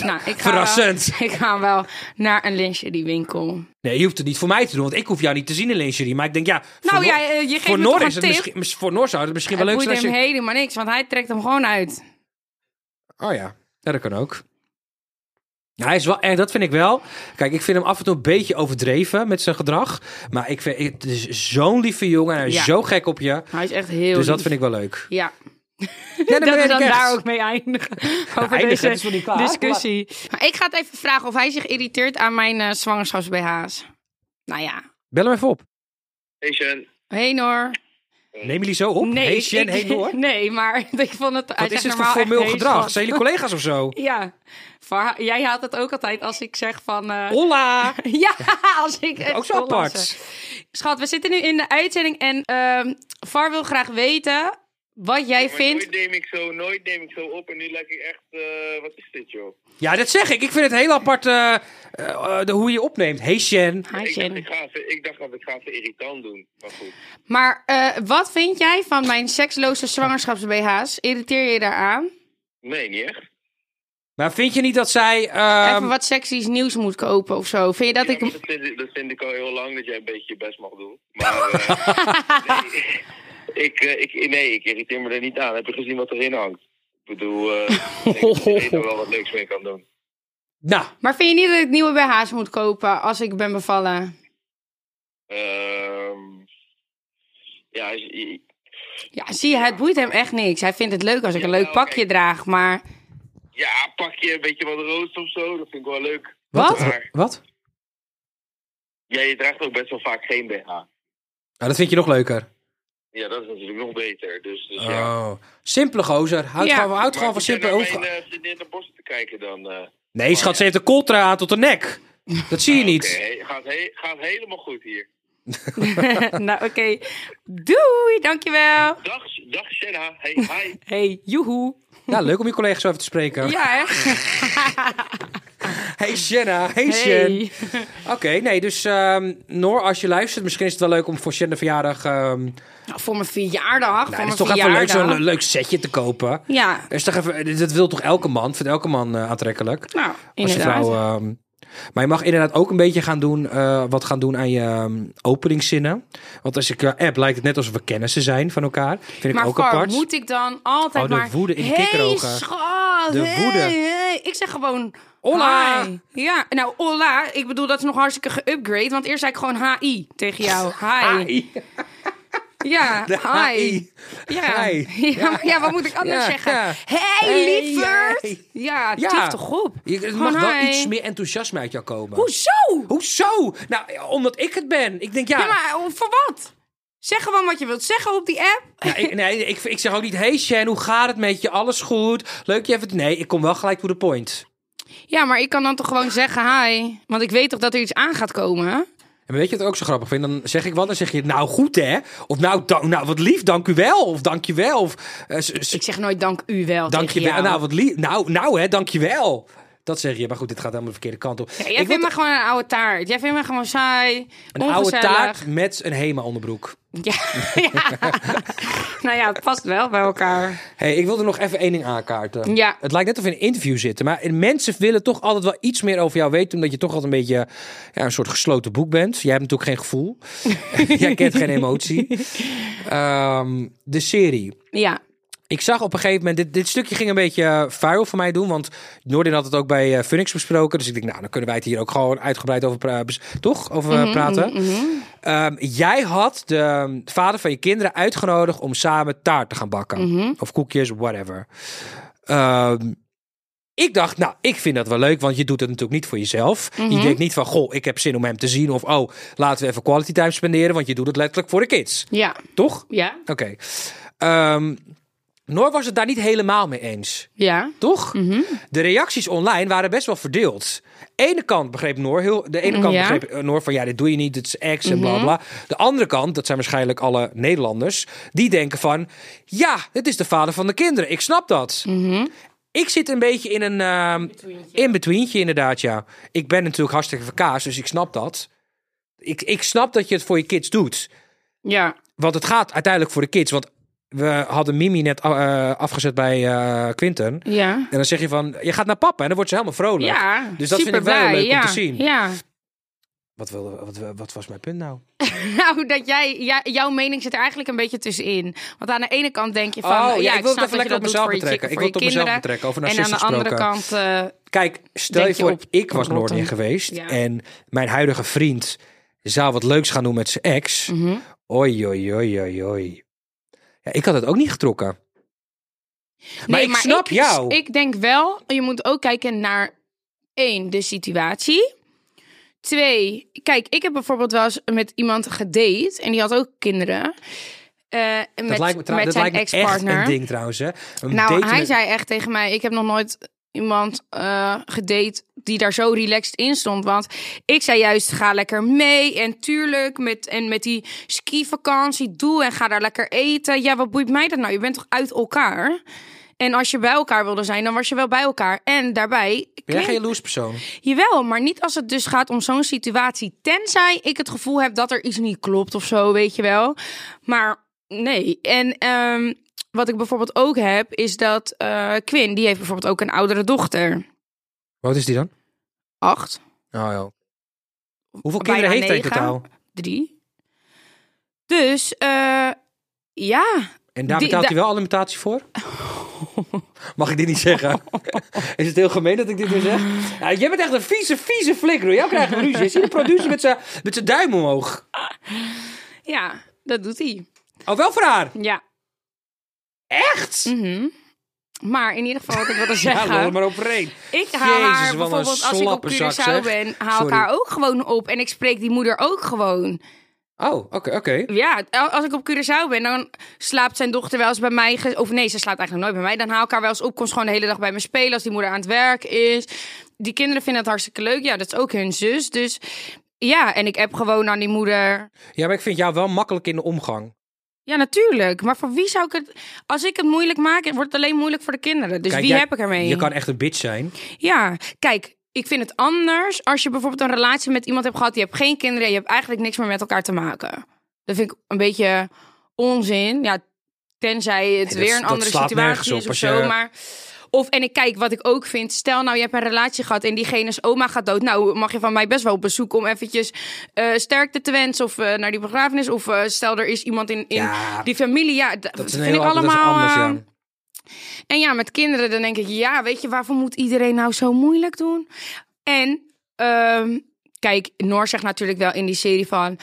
Speaker 3: Nou, ik ga
Speaker 2: Verrassend.
Speaker 3: Wel, ik ga wel naar een lingerie winkel.
Speaker 2: Nee, je hoeft het niet voor mij te doen, want ik hoef jou niet te zien in lingerie. Maar ik denk, ja, voor
Speaker 3: Nou
Speaker 2: Noor-
Speaker 3: ja, eh, je geeft
Speaker 2: voor
Speaker 3: me
Speaker 2: Noor
Speaker 3: toch
Speaker 2: is
Speaker 3: een
Speaker 2: het
Speaker 3: tip.
Speaker 2: misschien- mis- voor Noor zou het misschien
Speaker 3: Het
Speaker 2: wel leuk
Speaker 3: boeit
Speaker 2: zijn als
Speaker 3: hem
Speaker 2: je...
Speaker 3: helemaal niks, want hij trekt hem gewoon uit.
Speaker 2: Oh ja. ja, dat kan ook. Ja, Hij is wel, eh, dat vind ik wel. Kijk, ik vind hem af en toe een beetje overdreven met zijn gedrag. Maar ik vind, het is zo'n lieve jongen en hij is
Speaker 3: Ja.
Speaker 2: zo gek op je.
Speaker 3: Hij is echt heel
Speaker 2: Dus dat
Speaker 3: lief.
Speaker 2: vind ik wel leuk.
Speaker 3: Ja,
Speaker 2: Ja,
Speaker 3: dat we
Speaker 2: ben
Speaker 3: dan
Speaker 2: ik echt.
Speaker 3: daar ook mee eindigen. Over
Speaker 2: eindigen,
Speaker 3: deze
Speaker 2: het is nog niet klaar.
Speaker 3: discussie. Maar ik ga het even vragen of hij zich irriteert aan mijn eh zwangerschaps-BH's. Nou ja.
Speaker 2: Bel hem even op.
Speaker 4: Hey Sjen.
Speaker 3: Hey Noor.
Speaker 2: Neem jullie zo op? hey Sjen,
Speaker 3: ik-
Speaker 2: hey Noor.
Speaker 3: Nee, maar ik vond het... hij
Speaker 2: Wat is
Speaker 3: zegt
Speaker 2: dit voor
Speaker 3: normaal echt,
Speaker 2: formeel
Speaker 3: hey,
Speaker 2: gedrag?
Speaker 3: schat.
Speaker 2: Zijn jullie collega's of zo?
Speaker 3: Ja. Voor- jij haalt het ook altijd als ik zeg van... eh,
Speaker 2: Hola!
Speaker 3: Ja, als ik het
Speaker 2: Ook zo
Speaker 3: wil
Speaker 2: apart.
Speaker 3: lassen. Schat, we zitten nu in de uitzending en ehm Far wil graag weten wat jij
Speaker 4: Maar
Speaker 3: vindt.
Speaker 4: Nooit neem ik zo, nooit neem ik zo op en nu lijkt ik echt, eh, wat is dit joh?
Speaker 2: Ja, dat zeg ik. Ik vind het heel apart eh, eh, eh, de, hoe je opneemt. Hey Sjen.
Speaker 3: Hi,
Speaker 4: ik, dacht,
Speaker 3: Jen.
Speaker 4: ik, ga even, ik dacht dat ik ga even irritant doen, maar goed.
Speaker 3: Maar eh, wat vind jij van mijn seksloze zwangerschaps-BH's? Irriteer je je daaraan?
Speaker 4: Nee, niet echt.
Speaker 2: Maar vind je niet dat zij... ehm,
Speaker 3: Even wat seksies nieuws moet kopen of zo. Vind je dat
Speaker 4: Ja,
Speaker 3: ik...
Speaker 4: maar dat, vind, ik- dat vind ik al heel lang, dat jij een beetje je best mag doen. Maar eh, nee, ik, eh, ik, nee, ik irriteer me er niet aan. Heb je gezien wat erin hangt? Ik bedoel, eh, ik denk dat iedereen er wel wat leuks mee kan doen.
Speaker 2: Nou,
Speaker 3: Maar vind je niet dat ik nieuwe BH's moet kopen als ik ben bevallen?
Speaker 4: Ehm, ja, als je-
Speaker 3: Ja, zie je, het boeit hem echt niks. Hij vindt het leuk als ik een leuk
Speaker 4: Jawel,
Speaker 3: pakje draag, maar...
Speaker 4: ja, pak je een beetje wat roos of zo, dat vind ik wel leuk.
Speaker 2: wat?
Speaker 4: Maar-
Speaker 2: Wat?
Speaker 4: Ja, je draagt ook best wel vaak geen BH.
Speaker 2: Nou, dat vind je nog leuker.
Speaker 4: Ja, dat is natuurlijk nog beter. Dus, dus ja.
Speaker 2: Oh. Simpele gozer. Houd
Speaker 3: Ja.
Speaker 2: gewoon, houd
Speaker 4: Maar
Speaker 2: gewoon van
Speaker 4: zit jij
Speaker 2: simpele
Speaker 4: naar
Speaker 2: overgang.
Speaker 4: mijn, eh, vriendin naar borsten te kijken dan. eh,
Speaker 2: Nee, schat, ze heeft een coltra aan tot de nek. Dat zie je niet.
Speaker 4: Ah, Oké, he- gaat, he- gaat helemaal goed hier.
Speaker 3: nou, oké. Doei, dankjewel.
Speaker 4: Dag, dag Shenna. Hey, hi.
Speaker 3: Hey, joehoe.
Speaker 2: Nou, leuk om je collega zo even te spreken.
Speaker 3: Ja, hè?
Speaker 2: Hey Shanna, hey, Shen.
Speaker 3: Hey.
Speaker 2: Oké, nee, dus ehm, Noor, als je luistert, misschien is het wel leuk om voor Shen de verjaardag... ehm nou,
Speaker 3: Nou, voor mijn verjaardag.
Speaker 2: dat is
Speaker 3: voor mijn
Speaker 2: toch even leuk,
Speaker 3: verjaardag.
Speaker 2: zo'n leuk setje te kopen.
Speaker 3: Ja,
Speaker 2: Dat Is toch even, dat wil toch elke man? Vindt elke man eh, aantrekkelijk?
Speaker 3: nou,
Speaker 2: Als je
Speaker 3: inderdaad.
Speaker 2: vrouw, ehm, maar je mag inderdaad ook een beetje gaan doen, eh, wat gaan doen aan je ehm, openingszinnen. Want als ik eh, app lijkt het net alsof we kennissen zijn van elkaar. Vind
Speaker 3: maar
Speaker 2: ik ook
Speaker 3: Cor,
Speaker 2: apart.
Speaker 3: moet ik dan altijd
Speaker 2: Oh, de
Speaker 3: maar...
Speaker 2: woede in de
Speaker 3: hey,
Speaker 2: kikkerogen.
Speaker 3: schat,
Speaker 2: De
Speaker 3: hey,
Speaker 2: woede.
Speaker 3: hey. Ik zeg gewoon...
Speaker 2: Hola.
Speaker 3: hi. Ja, nou, hola. Ik bedoel, dat is nog hartstikke geüpgrade. Want eerst zei ik gewoon hi tegen jou. Hi.
Speaker 2: Hi.
Speaker 3: Ja,
Speaker 2: De
Speaker 3: hi.
Speaker 2: hi.
Speaker 3: Ja.
Speaker 2: Hi.
Speaker 3: Ja, maar ja, wat moet ik anders
Speaker 2: Ja,
Speaker 3: zeggen?
Speaker 2: ja.
Speaker 3: Hey,
Speaker 2: Hey,
Speaker 3: lieverd.
Speaker 2: jij.
Speaker 3: Ja,
Speaker 2: Ja.
Speaker 3: ja. toch op.
Speaker 2: Je, er mag
Speaker 3: Gewoon
Speaker 2: wel
Speaker 3: hi.
Speaker 2: iets meer enthousiasme uit jou komen.
Speaker 3: Hoezo?
Speaker 2: Hoezo? Nou, omdat ik het ben. Ik denk, ja...
Speaker 3: Ja, maar eh, voor wat? Zeg gewoon wat je wilt zeggen op die app.
Speaker 2: ja, nou, ik, nee, ik, ik zeg ook niet, hey Shen, hoe gaat het met je? Alles goed? Leuk je even... Nee, ik kom wel gelijk to the point.
Speaker 3: Ja, maar ik kan dan toch gewoon zeggen hi. Want ik weet toch dat er iets aan gaat komen.
Speaker 2: En weet je wat ik ook zo grappig vind? Dan zeg ik wat, dan zeg je, nou goed hè. Of nou, dank- nou wat lief, dank u wel. Of dank je wel. Of eh, s- s-
Speaker 3: Ik zeg nooit dank u wel
Speaker 2: Dank je
Speaker 3: tegen
Speaker 2: wel.
Speaker 3: jou.
Speaker 2: Nou, wat lief. Nou, nou, hè, dank je wel. Dat zeg je. Maar goed, dit gaat helemaal de verkeerde kant op.
Speaker 3: Ja, jij vindt me gewoon een oude taart. Jij vindt me gewoon saai.
Speaker 2: een oude taart met een HEMA-onderbroek.
Speaker 3: Ja, ja. nou ja, het past wel bij elkaar.
Speaker 2: hey, ik wilde nog even één ding aankaarten.
Speaker 3: Ja.
Speaker 2: Het lijkt net of we in een interview zitten. Maar mensen willen toch altijd wel iets meer over jou weten. Omdat je toch altijd een beetje ja, een soort gesloten boek bent. Jij hebt natuurlijk geen gevoel. Jij kent geen emotie. Ehm, de serie.
Speaker 3: Ja.
Speaker 2: Ik zag op een gegeven moment, dit, dit stukje ging een beetje eh, vuil voor mij doen, want Noordin had het ook bij eh, Phoenix besproken. Dus ik denk, nou, dan kunnen wij het hier ook gewoon uitgebreid over, pra- bes- toch? over eh, praten. Ehm, jij had de ehm, vader van je kinderen uitgenodigd om samen taart te gaan bakken. Of koekjes, whatever. Ehm, ik dacht, nou, ik vind dat wel leuk, want je doet het natuurlijk niet voor jezelf. Je denkt niet van, goh, ik heb zin om hem te zien. Of, oh, laten we even quality time spenderen, want je doet het letterlijk voor de kids.
Speaker 3: Ja.
Speaker 2: Toch?
Speaker 3: Ja.
Speaker 2: Oké. Ehm, Noor was het daar niet helemaal mee eens.
Speaker 3: Ja.
Speaker 2: Toch? De reacties online waren best wel verdeeld. Ene kant begreep Noor heel. De ene kant
Speaker 3: Ja.
Speaker 2: begreep eh, Noor van ja, dit doe je niet, dit is ex en bla bla. De andere kant, dat zijn waarschijnlijk alle Nederlanders, die denken van ja, dit is de vader van de kinderen. Ik snap dat. Ik zit een beetje in een ehm in-betweentje, inderdaad. Ja, ik ben natuurlijk hartstikke verkaas, dus ik snap dat. Ik, ik snap dat je het voor je kids doet.
Speaker 3: Ja.
Speaker 2: Want het gaat uiteindelijk voor de kids. Want we hadden Mimi net eh, afgezet bij eh Quinten.
Speaker 3: Ja.
Speaker 2: En dan zeg je van, je gaat naar papa. En dan wordt ze helemaal vrolijk.
Speaker 3: Ja.
Speaker 2: Dus dat vind ik wel
Speaker 3: Superblij,
Speaker 2: leuk om
Speaker 3: ja.
Speaker 2: te zien.
Speaker 3: Ja.
Speaker 2: Wat, wilde, wat, wat was mijn punt nou?
Speaker 3: Nou, dat jij, ja, jouw mening zit er eigenlijk een beetje tussenin. Want aan de ene kant denk je van...
Speaker 2: Oh, ja,
Speaker 3: ja,
Speaker 2: ik wil het
Speaker 3: snap
Speaker 2: even
Speaker 3: dat je
Speaker 2: lekker op
Speaker 3: dat doet
Speaker 2: mezelf
Speaker 3: voor je
Speaker 2: betrekken.
Speaker 3: chick-
Speaker 2: Ik wil
Speaker 3: voor je
Speaker 2: het op mezelf
Speaker 3: kinderen.
Speaker 2: betrekken, over
Speaker 3: En aan de
Speaker 2: narcisten
Speaker 3: andere
Speaker 2: gesproken.
Speaker 3: kant... eh,
Speaker 2: Kijk, stel je
Speaker 3: Denk je
Speaker 2: voor,
Speaker 3: op
Speaker 2: ik was
Speaker 3: rotten.
Speaker 2: Noordin geweest.
Speaker 3: Ja.
Speaker 2: En mijn huidige vriend zou wat leuks gaan doen met zijn ex.
Speaker 3: Mhm.
Speaker 2: Oi, oi, oi, oi, oi. Ja, ik had het ook niet getrokken. Maar ik snap jou.
Speaker 3: Ik denk wel, je moet ook kijken naar één, de situatie. Twee, kijk, ik heb bijvoorbeeld wel eens met iemand gedate en die had ook kinderen. Eh,
Speaker 2: Dat
Speaker 3: met,
Speaker 2: lijkt me, trouw-
Speaker 3: met
Speaker 2: dat
Speaker 3: zijn
Speaker 2: lijkt me echt een
Speaker 3: ex-partner.
Speaker 2: ding trouwens. Hè. Een
Speaker 3: Nou,
Speaker 2: date
Speaker 3: hij
Speaker 2: met-
Speaker 3: zei echt tegen mij: Ik heb nog nooit iemand eh, gedate die daar zo relaxed in stond. Want ik zei juist: Ga lekker mee. En tuurlijk, met, en met die skivakantie, doe en ga daar lekker eten. Ja, wat boeit mij dat nou? Je bent toch uit elkaar? En als je bij elkaar wilde zijn, dan was je wel bij elkaar. En daarbij.
Speaker 2: Ben jij geen
Speaker 3: klinkt-
Speaker 2: jaloers persoon?
Speaker 3: Jawel, maar niet als het dus gaat om zo'n situatie. Tenzij ik het gevoel heb dat er iets niet klopt of zo, weet je wel. Maar nee. En ehm, wat ik bijvoorbeeld ook heb, is dat eh, Quinn, die heeft bijvoorbeeld ook een oudere dochter.
Speaker 2: Wat is die dan?
Speaker 3: Acht,
Speaker 2: Oh ja. Hoeveel
Speaker 3: Bijna
Speaker 2: kinderen heeft hij in
Speaker 3: negen.
Speaker 2: totaal?
Speaker 3: drie. Dus, eh, ja.
Speaker 2: En daar
Speaker 3: Die-
Speaker 2: betaalt
Speaker 3: da-
Speaker 2: hij wel alimentatie voor? Mag ik dit niet zeggen? Is het heel gemeen dat ik dit weer zeg? Ja, jij bent echt een vieze, vieze flikker. hoor. Jou krijgt een ruzie. Je ziet de producer met zijn- met zijn duim omhoog.
Speaker 3: Ja, dat doet hij.
Speaker 2: Oh, wel voor haar.
Speaker 3: Ja.
Speaker 2: Echt?
Speaker 3: mhm. Maar in ieder geval, wat ik wilde
Speaker 2: Ja,
Speaker 3: zeggen.
Speaker 2: lol er maar overheen.
Speaker 3: Ik haal
Speaker 2: Jezus, wat
Speaker 3: haar
Speaker 2: een
Speaker 3: bijvoorbeeld als ik op
Speaker 2: slappe zak, zeg.
Speaker 3: Curaçao ben, haal
Speaker 2: Sorry.
Speaker 3: ik haar ook gewoon op. En ik spreek die moeder ook gewoon.
Speaker 2: Oh, oké, oké.
Speaker 3: Ja, als ik op Curaçao ben, dan slaapt zijn dochter wel eens bij mij. ge- Of nee, ze slaapt eigenlijk nooit bij mij. Dan haal ik haar wel eens op, komt ze gewoon de hele dag bij me spelen als die moeder aan het werk is. Die kinderen vinden het hartstikke leuk. Ja, dat is ook hun zus. Dus ja, en ik app gewoon aan die moeder.
Speaker 2: Ja, maar ik vind jou wel makkelijk in de omgang.
Speaker 3: Ja, natuurlijk. Maar voor wie zou ik het... Als ik het moeilijk maak, wordt het alleen moeilijk voor de kinderen. Dus
Speaker 2: Kijk,
Speaker 3: wie
Speaker 2: jij-
Speaker 3: heb ik ermee?
Speaker 2: Je kan echt een bitch zijn.
Speaker 3: Ja, kijk, ik vind het anders als je bijvoorbeeld een relatie met iemand hebt gehad, die hebt geen kinderen, en je hebt eigenlijk niks meer met elkaar te maken. Dat vind ik een beetje onzin. Ja, tenzij het
Speaker 2: dat-
Speaker 3: weer een
Speaker 2: dat
Speaker 3: andere
Speaker 2: slaat nergens
Speaker 3: situatie
Speaker 2: op
Speaker 3: is of
Speaker 2: als
Speaker 3: zo,
Speaker 2: je-
Speaker 3: maar of en ik kijk wat ik ook vind. Stel nou je hebt een relatie gehad en diegene's oma gaat dood. Nou mag je van mij best wel op bezoek om eventjes eh, sterkte te wensen of eh, naar die begrafenis of eh, stel er is iemand in, in
Speaker 2: Ja,
Speaker 3: die familie. Ja, dat,
Speaker 2: Dat is een
Speaker 3: vind
Speaker 2: heel
Speaker 3: ik
Speaker 2: ander- dat is
Speaker 3: allemaal
Speaker 2: anders, ja.
Speaker 3: eh, en ja, met kinderen dan denk ik, ja, weet je, waarvoor moet iedereen nou zo moeilijk doen? En ehm, kijk, Noor zegt natuurlijk wel in die serie van,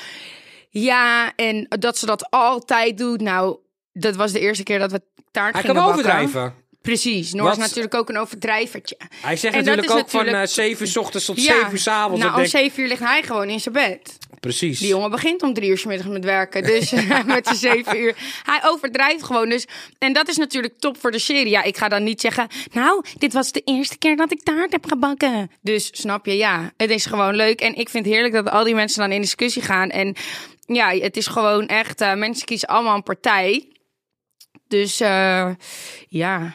Speaker 3: ja, en dat ze dat altijd doet. Nou, dat was de eerste keer dat we taart
Speaker 2: Hij kan
Speaker 3: gingen
Speaker 2: wel
Speaker 3: bakken.
Speaker 2: overdrijven.
Speaker 3: Precies, Noor
Speaker 2: Wat-
Speaker 3: is natuurlijk ook een overdrijvertje.
Speaker 2: Hij zegt
Speaker 3: En dat
Speaker 2: natuurlijk
Speaker 3: is
Speaker 2: ook van
Speaker 3: natuurlijk-
Speaker 2: eh 7 uur ochtends tot 7 uur s avonds.
Speaker 3: nou,
Speaker 2: Dan
Speaker 3: om
Speaker 2: denk ik-
Speaker 3: zeven uur ligt hij gewoon in zijn bed.
Speaker 2: Precies.
Speaker 3: Die jongen begint om drie uur 's middags met werken. Dus met zijn zeven uur. Hij overdrijft gewoon. Dus, en dat is natuurlijk top voor de serie. Ja, ik ga dan niet zeggen. Nou, dit was de eerste keer dat ik taart heb gebakken. Dus snap je, ja. Het is gewoon leuk. En ik vind het heerlijk dat al die mensen dan in discussie gaan. En ja, het is gewoon echt. eh, mensen kiezen allemaal een partij. Dus eh, ja.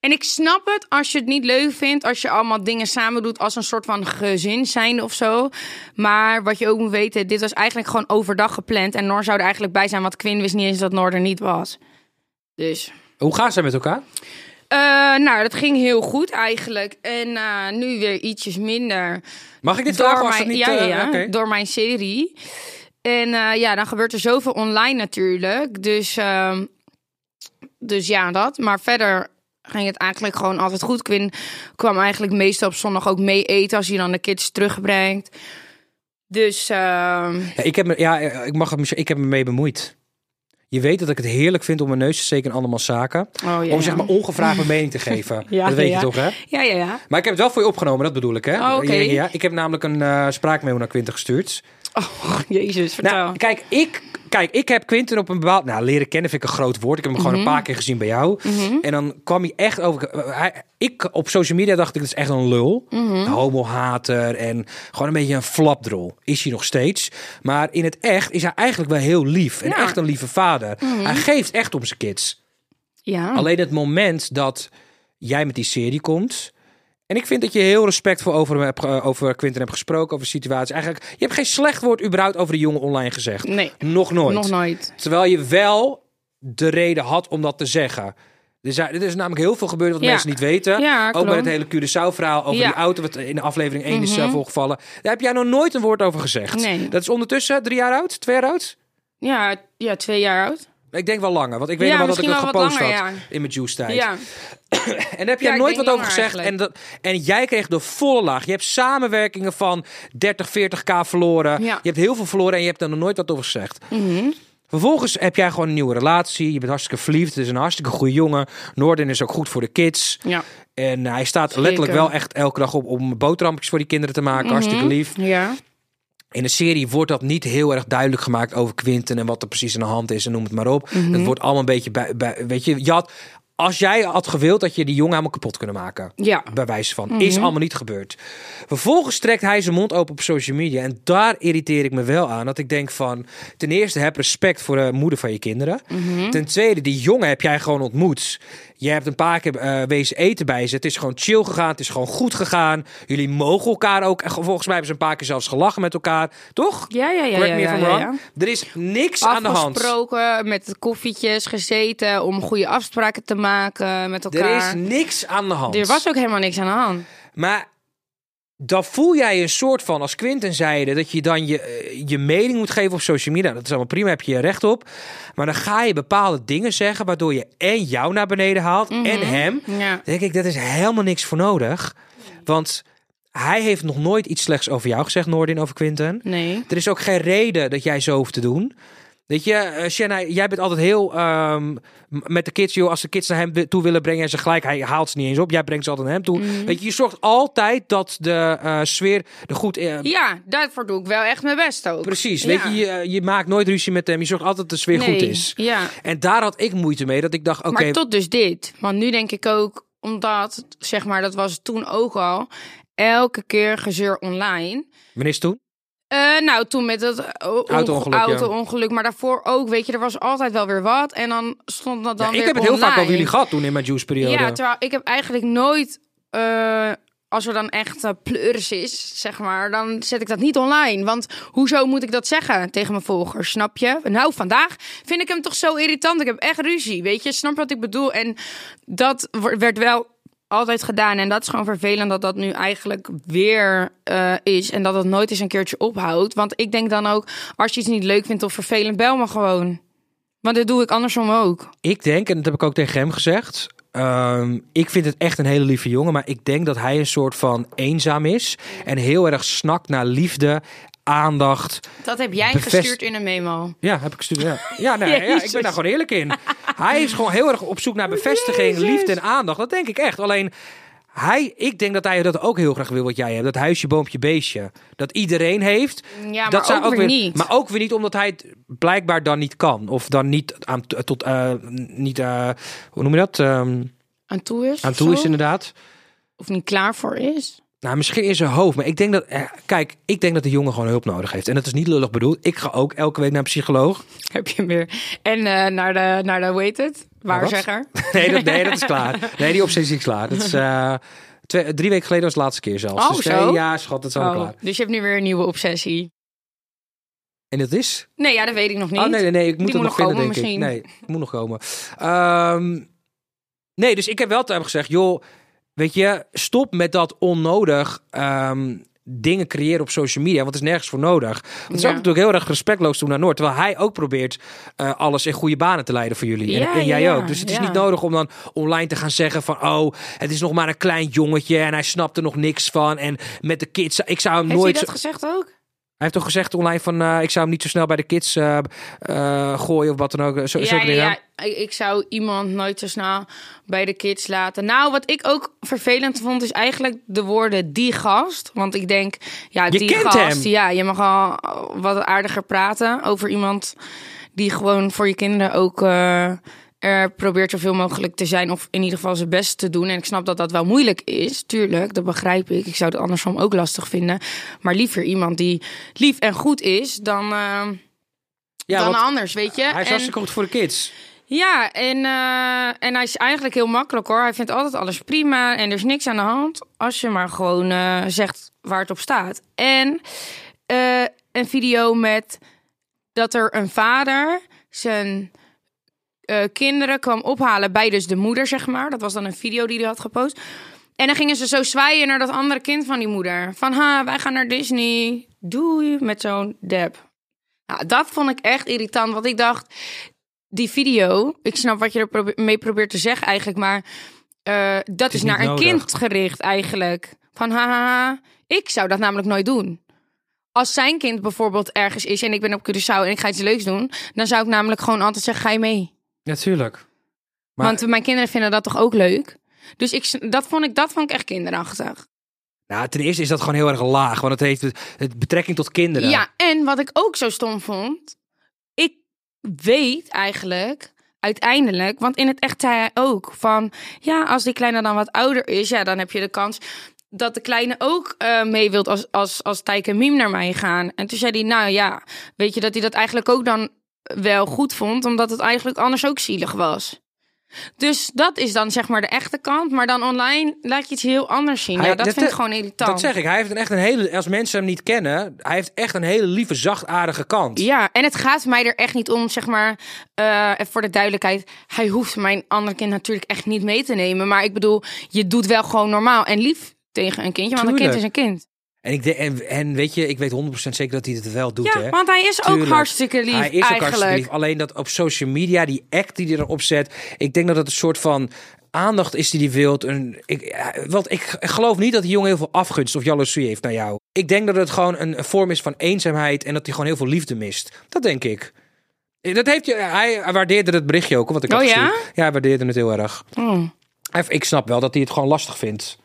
Speaker 3: En ik snap het als je het niet leuk vindt, als je allemaal dingen samen doet als een soort van gezin zijn of zo. Maar wat je ook moet weten, dit was eigenlijk gewoon overdag gepland. En Noor zou er eigenlijk bij zijn, want Quinn wist niet eens dat Noor er niet was. Dus,
Speaker 2: Hoe gaan ze met elkaar?
Speaker 3: eh, nou, dat ging heel goed eigenlijk. En eh, nu weer ietsjes minder.
Speaker 2: Mag ik dit
Speaker 3: Door
Speaker 2: vragen als het
Speaker 3: mijn-
Speaker 2: niet...
Speaker 3: ja, ja,
Speaker 2: eh,
Speaker 3: ja,
Speaker 2: oké.
Speaker 3: door mijn serie. En eh, ja, dan gebeurt er zoveel online natuurlijk. Dus, ehm, dus ja, dat. Maar verder ging het eigenlijk gewoon altijd goed. Quinn kwam eigenlijk meestal op zondag ook mee eten als hij dan de kids terugbrengt. Dus ehm,
Speaker 2: Ja, ik, heb me, ja, eh, ik, mag het, misschien- ik heb me mee bemoeid. Je weet dat ik het heerlijk vind om mijn neus te steken in andermans zaken.
Speaker 3: Oh, ja,
Speaker 2: om zeg
Speaker 3: ja.
Speaker 2: maar ongevraagd mijn mening te geven.
Speaker 3: Ja,
Speaker 2: dat weet
Speaker 3: ja.
Speaker 2: je toch, hè?
Speaker 3: ja, ja, ja.
Speaker 2: Maar ik heb het wel voor je opgenomen, dat bedoel ik, hè?
Speaker 3: Oh, oké.
Speaker 2: Ja, ja, ja. Ik heb namelijk een eh spraakmemo naar Quinten gestuurd.
Speaker 3: Oh, jezus, vertel.
Speaker 2: Nou, kijk, ik, kijk, ik heb Quinten op een bepaald... Nou, leren kennen vind ik een groot woord. Ik heb hem gewoon
Speaker 3: Mhm.
Speaker 2: een paar keer gezien bij jou. En dan kwam hij echt over... Hij, ik, op social media dacht ik, dat is echt een lul.
Speaker 3: Mhm.
Speaker 2: Een homohater en gewoon een beetje een flapdrol. Is hij nog steeds. Maar in het echt is hij eigenlijk wel heel lief. En
Speaker 3: Ja. Mhm.
Speaker 2: echt een lieve vader. Hij geeft echt om zijn kids.
Speaker 3: ja.
Speaker 2: Alleen het moment dat jij met die serie komt. En ik vind dat je heel respectvol over, hem hebt, ge- over Quinten hebt gesproken, over de situatie. Eigenlijk, je hebt geen slecht woord überhaupt over de jongen online gezegd.
Speaker 3: Nee.
Speaker 2: Nog nooit.
Speaker 3: Nog nooit.
Speaker 2: Terwijl je wel de reden had om dat te zeggen. Er, zijn, er is namelijk heel veel gebeurd wat
Speaker 3: Ja.
Speaker 2: mensen niet weten.
Speaker 3: Ja,
Speaker 2: ook met
Speaker 3: klopt.
Speaker 2: het hele Curaçao-verhaal over
Speaker 3: Ja. Mhm.
Speaker 2: die auto... wat in de aflevering 1 is eh, voorgevallen. Daar heb jij nog nooit een woord over gezegd.
Speaker 3: Nee.
Speaker 2: Dat is ondertussen drie jaar oud, twee jaar oud?
Speaker 3: Ja, ja, twee jaar oud.
Speaker 2: Ik denk wel langer, want ik weet
Speaker 3: Ja,
Speaker 2: nog wel dat ik
Speaker 3: misschien
Speaker 2: dat
Speaker 3: wel wat
Speaker 2: gepost
Speaker 3: langer,
Speaker 2: had
Speaker 3: ja.
Speaker 2: in mijn Juice-tijd.
Speaker 3: Ja,
Speaker 2: En daar heb
Speaker 3: Ja,
Speaker 2: jij
Speaker 3: ik
Speaker 2: nooit
Speaker 3: denk
Speaker 2: wat over
Speaker 3: langer
Speaker 2: gezegd. En,
Speaker 3: eigenlijk.
Speaker 2: dat, en jij kreeg de volle laag. Je hebt samenwerkingen van 30, 40k verloren.
Speaker 3: Ja. Mhm.
Speaker 2: Je hebt heel veel verloren en je hebt daar nog nooit wat over gezegd. Vervolgens heb jij gewoon een nieuwe relatie. Je bent hartstikke verliefd. Het is een hartstikke goede jongen. Noorden is ook goed voor de kids.
Speaker 3: ja.
Speaker 2: En hij staat letterlijk wel echt elke dag op om boterhammetjes voor die kinderen te maken.
Speaker 3: Mhm.
Speaker 2: Hartstikke lief.
Speaker 3: Ja.
Speaker 2: In de serie wordt dat niet heel erg duidelijk gemaakt over Quinten en wat er precies aan de hand is en noem het maar op. Het wordt allemaal een beetje bij, bij- weet je, je had, als jij had gewild dat je die jongen helemaal kapot kunnen maken.
Speaker 3: Ja.
Speaker 2: Bij wijze van.
Speaker 3: Mhm.
Speaker 2: Is allemaal niet gebeurd. Vervolgens trekt hij zijn mond open op social media. En daar irriteer ik me wel aan. Dat ik denk van, ten
Speaker 3: Mhm.
Speaker 2: eerste heb respect voor de moeder van je kinderen. Ten tweede, die jongen heb jij gewoon ontmoet. Je hebt een paar keer eh, wezen eten bij ze. Het is gewoon chill gegaan. Het is gewoon goed gegaan. Jullie mogen elkaar ook. En ge- volgens mij hebben ze een paar keer zelfs gelachen met elkaar. Toch?
Speaker 3: Ja, ja, ja,
Speaker 2: Correct
Speaker 3: ja,
Speaker 2: me if
Speaker 3: ja,
Speaker 2: I'm
Speaker 3: ja,
Speaker 2: wrong.
Speaker 3: ja.
Speaker 2: Er is niks aan de hand.
Speaker 3: Afgesproken, met koffietjes gezeten om goede afspraken te maken met
Speaker 2: Er
Speaker 3: elkaar.
Speaker 2: is niks aan de hand.
Speaker 3: Er was ook helemaal niks aan de hand.
Speaker 2: Maar dan voel jij een soort van, als Quinten zeide, dat je dan je, eh, je mening moet geven op social media. nou, Dat is allemaal prima, heb je je recht op. Maar dan ga je bepaalde dingen zeggen, waardoor je en jou naar beneden haalt en hem.
Speaker 3: Ja.
Speaker 2: Dan denk ik, dat is helemaal niks voor nodig. Want hij heeft nog nooit iets slechts over jou gezegd, Noordin, over Quinten.
Speaker 3: Nee.
Speaker 2: Er is ook geen reden dat jij zo hoeft te doen. Weet je, eh, Shanna, jij bent altijd heel ehm, m- met de kids, joh. Als de kids naar hem wi- toe willen brengen en ze gelijk, hij haalt ze niet eens op. Jij brengt ze altijd naar hem toe.
Speaker 3: Mhm.
Speaker 2: Weet je, je zorgt altijd dat de eh, sfeer er goed in.
Speaker 3: Ja, daarvoor doe ik wel echt mijn best ook.
Speaker 2: Precies,
Speaker 3: Ja.
Speaker 2: weet je, je, eh, je maakt nooit ruzie met hem. Je zorgt altijd dat de sfeer goed
Speaker 3: Nee,
Speaker 2: is.
Speaker 3: Ja.
Speaker 2: En daar had ik moeite mee, dat ik dacht, oké,
Speaker 3: Maar tot dus dit. Want nu denk ik ook, omdat, zeg maar, dat was toen ook al, elke keer gezeur online.
Speaker 2: wanneer is het toen?
Speaker 3: Eh, nou, toen met dat eh, o-
Speaker 2: Auto-ongeluk, ja.
Speaker 3: auto-ongeluk, maar daarvoor ook, weet je, er was altijd wel weer wat. En dan stond dat dan
Speaker 2: Ja,
Speaker 3: weer
Speaker 2: ik heb het heel vaak
Speaker 3: online.
Speaker 2: over jullie gehad toen in mijn juiceperiode.
Speaker 3: Ja, terwijl ik heb eigenlijk nooit, eh, als er dan echt eh, pleuris is, zeg maar, dan zet ik dat niet online. Want hoezo moet ik dat zeggen tegen mijn volgers, snap je? Nou, vandaag vind ik hem toch zo irritant. Ik heb echt ruzie, weet je? Snap je wat ik bedoel? En dat wo- werd wel altijd gedaan. En dat is gewoon vervelend dat dat nu eigenlijk weer eh, is. En dat het nooit eens een keertje ophoudt. Want ik denk dan ook, als je iets niet leuk vindt of vervelend, bel me gewoon. Want dat doe ik andersom ook.
Speaker 2: Ik denk, en dat heb ik ook tegen hem gezegd. ehm, ik vind het echt een hele lieve jongen. Maar ik denk dat hij een soort van eenzaam is. En heel erg snakt naar liefde, aandacht.
Speaker 3: Dat heb jij
Speaker 2: Bevest-
Speaker 3: gestuurd in een memo.
Speaker 2: Ja, heb ik gestuurd. Ja, ja, nee, ja ik ben
Speaker 3: Jezus.
Speaker 2: daar gewoon eerlijk in. Hij is gewoon heel erg op zoek naar bevestiging, liefde en aandacht. Dat denk ik echt. Alleen. Hij, ik denk dat hij dat ook heel graag wil wat jij hebt. Dat huisje, boompje, beestje. Dat iedereen heeft.
Speaker 3: Ja, maar
Speaker 2: dat zij
Speaker 3: ook weer niet.
Speaker 2: Maar ook weer niet omdat hij het blijkbaar dan niet kan. Of dan niet aan, tot, eh, niet, eh, hoe noem je dat? Ehm,
Speaker 3: Aan toe is?
Speaker 2: aan
Speaker 3: of
Speaker 2: toe is
Speaker 3: zo?
Speaker 2: inderdaad.
Speaker 3: Of niet klaar voor is?
Speaker 2: Nou, misschien in zijn hoofd. Maar ik denk dat. eh, kijk, ik denk dat de jongen gewoon hulp nodig heeft. En dat is niet lullig bedoeld. Ik ga ook elke week naar een psycholoog.
Speaker 3: Heb je hem weer. En eh, naar de, naar de, hoe heet het? Waarzegger.
Speaker 2: Nee, dat, nee, dat is klaar. Nee, die obsessie is klaar. Dat is. eh, twee- drie weken geleden was de laatste keer zelfs.
Speaker 3: Oh,
Speaker 2: dus
Speaker 3: zo?
Speaker 2: nee, ja, schat, dat is allemaal
Speaker 3: Oh,
Speaker 2: klaar.
Speaker 3: dus je hebt nu weer een nieuwe obsessie.
Speaker 2: En dat is.
Speaker 3: Nee, ja, dat weet ik nog niet.
Speaker 2: Oh nee, nee, nee. Ik moet
Speaker 3: Die
Speaker 2: het nog
Speaker 3: moet nog
Speaker 2: vinden, denk
Speaker 3: komen
Speaker 2: ik.
Speaker 3: misschien.
Speaker 2: Nee, het moet nog komen. Ehm, nee, dus ik heb wel tegen hem gezegd, joh, weet je, stop met dat onnodig ehm, dingen creëren op social media, want het is nergens voor nodig. Want het is
Speaker 3: Ja.
Speaker 2: ook natuurlijk heel erg respectloos toen naar Noord, terwijl hij ook probeert eh, alles in goede banen te leiden voor jullie. en,
Speaker 3: Ja,
Speaker 2: en jij
Speaker 3: ja, ja.
Speaker 2: ook. Dus het is
Speaker 3: Ja.
Speaker 2: niet nodig om dan online te gaan zeggen van, oh, het is nog maar een klein jongetje en hij snapt er nog niks van en met de kids, ik zou hem
Speaker 3: Heeft
Speaker 2: nooit...
Speaker 3: hij
Speaker 2: zo-
Speaker 3: dat gezegd ook?
Speaker 2: hij heeft toch gezegd online van eh, ik zou hem niet zo snel bij de kids eh, eh, gooien of wat dan ook. Zo,
Speaker 3: Ja,
Speaker 2: zulke
Speaker 3: ja,
Speaker 2: dingen.
Speaker 3: ja. Ik- ik zou iemand nooit zo snel bij de kids laten. Nou, wat ik ook vervelend vond, is eigenlijk de woorden die gast. Want ik denk, ja,
Speaker 2: Je
Speaker 3: die
Speaker 2: kent
Speaker 3: gast.
Speaker 2: hem.
Speaker 3: Ja, je mag al wat aardiger praten over iemand die gewoon voor je kinderen ook. eh, er probeert zoveel mogelijk te zijn of in ieder geval zijn best te doen. En ik snap dat dat wel moeilijk is, tuurlijk, dat begrijp ik. Ik zou het andersom ook lastig vinden. Maar liever iemand die lief en goed is dan, eh,
Speaker 2: Ja,
Speaker 3: dan
Speaker 2: want
Speaker 3: anders, weet je.
Speaker 2: hij is
Speaker 3: En-
Speaker 2: hartstikke goed voor de kids.
Speaker 3: ja, en, eh, en hij is eigenlijk heel makkelijk hoor. Hij vindt altijd alles prima en er is niks aan de hand. Als je maar gewoon eh, zegt waar het op staat. En eh, een video met dat er een vader zijn eh, kinderen kwam ophalen bij dus de moeder, zeg maar. Dat was dan een video die hij had gepost. En dan gingen ze zo zwaaien naar dat andere kind van die moeder. Van, ha, wij gaan naar Disney. Doei, met zo'n deb. Nou, dat vond ik echt irritant, want ik dacht die video, ik snap wat je er probe- mee probeert te zeggen eigenlijk, maar eh, dat is,
Speaker 2: is
Speaker 3: naar
Speaker 2: niet
Speaker 3: een
Speaker 2: nodig.
Speaker 3: kind gericht eigenlijk. Van haha, ik zou dat namelijk nooit doen. Als zijn kind bijvoorbeeld ergens is en ik ben op Curaçao en ik ga iets leuks doen, dan zou ik namelijk gewoon altijd zeggen: ga je mee?
Speaker 2: Natuurlijk. maar
Speaker 3: Want mijn kinderen vinden dat toch ook leuk? Dus ik, s- dat, vond ik, dat vond ik echt kinderachtig.
Speaker 2: nou, ten eerste is dat gewoon heel erg laag, want het heeft het betrekking tot kinderen.
Speaker 3: Ja, en wat ik ook zo stom vond. Ik weet eigenlijk uiteindelijk, want in het echt zei hij ook van... Ja, als die kleine dan wat ouder is, ja, dan heb je de kans dat de kleine ook eh, mee wilt als, als, als Tijk en Miem naar mij gaan. En toen zei hij, nou ja, weet je dat hij dat eigenlijk ook dan wel goed vond... omdat het eigenlijk anders ook zielig was. Dus dat is dan zeg maar de echte kant. Maar dan online laat je iets heel anders zien. ja,
Speaker 2: Hij-
Speaker 3: dat vind ik
Speaker 2: eh,
Speaker 3: gewoon irritant.
Speaker 2: Dat zeg ik. Hij heeft een echt een hele. Als mensen hem niet kennen, hij heeft echt een hele lieve, zachtaardige kant.
Speaker 3: Ja, en het gaat mij er echt niet om, zeg maar, eh, even voor de duidelijkheid. Hij hoeft mijn ander kind natuurlijk echt niet mee te nemen. Maar ik bedoel, je doet wel gewoon normaal en lief tegen een kindje. Want een kind is een
Speaker 2: Tuurlijk.
Speaker 3: kind.
Speaker 2: En, ik de, en, en weet je, ik weet 100% zeker dat hij het wel doet.
Speaker 3: Ja,
Speaker 2: hè?
Speaker 3: want hij is ook
Speaker 2: Tuurlijk.
Speaker 3: hartstikke lief
Speaker 2: Hij is ook hartstikke
Speaker 3: eigenlijk.
Speaker 2: lief. Alleen dat op social media, die act die hij erop zet. Ik denk dat het een soort van aandacht is die hij wilt. Een, ik, eh, want ik geloof niet dat die jongen heel veel afgunst of jaloezie heeft naar jou. Ik denk dat het gewoon een, een vorm is van eenzaamheid. En dat hij gewoon heel veel liefde mist. Dat denk ik. Eh, Dat heeft je, hij waardeerde het berichtje ook, wat ik
Speaker 3: Oh
Speaker 2: had
Speaker 3: ja?
Speaker 2: gestuurd. Ja, hij waardeerde het heel erg.
Speaker 3: Oh,
Speaker 2: Hij- Ik snap wel dat hij het gewoon lastig vindt.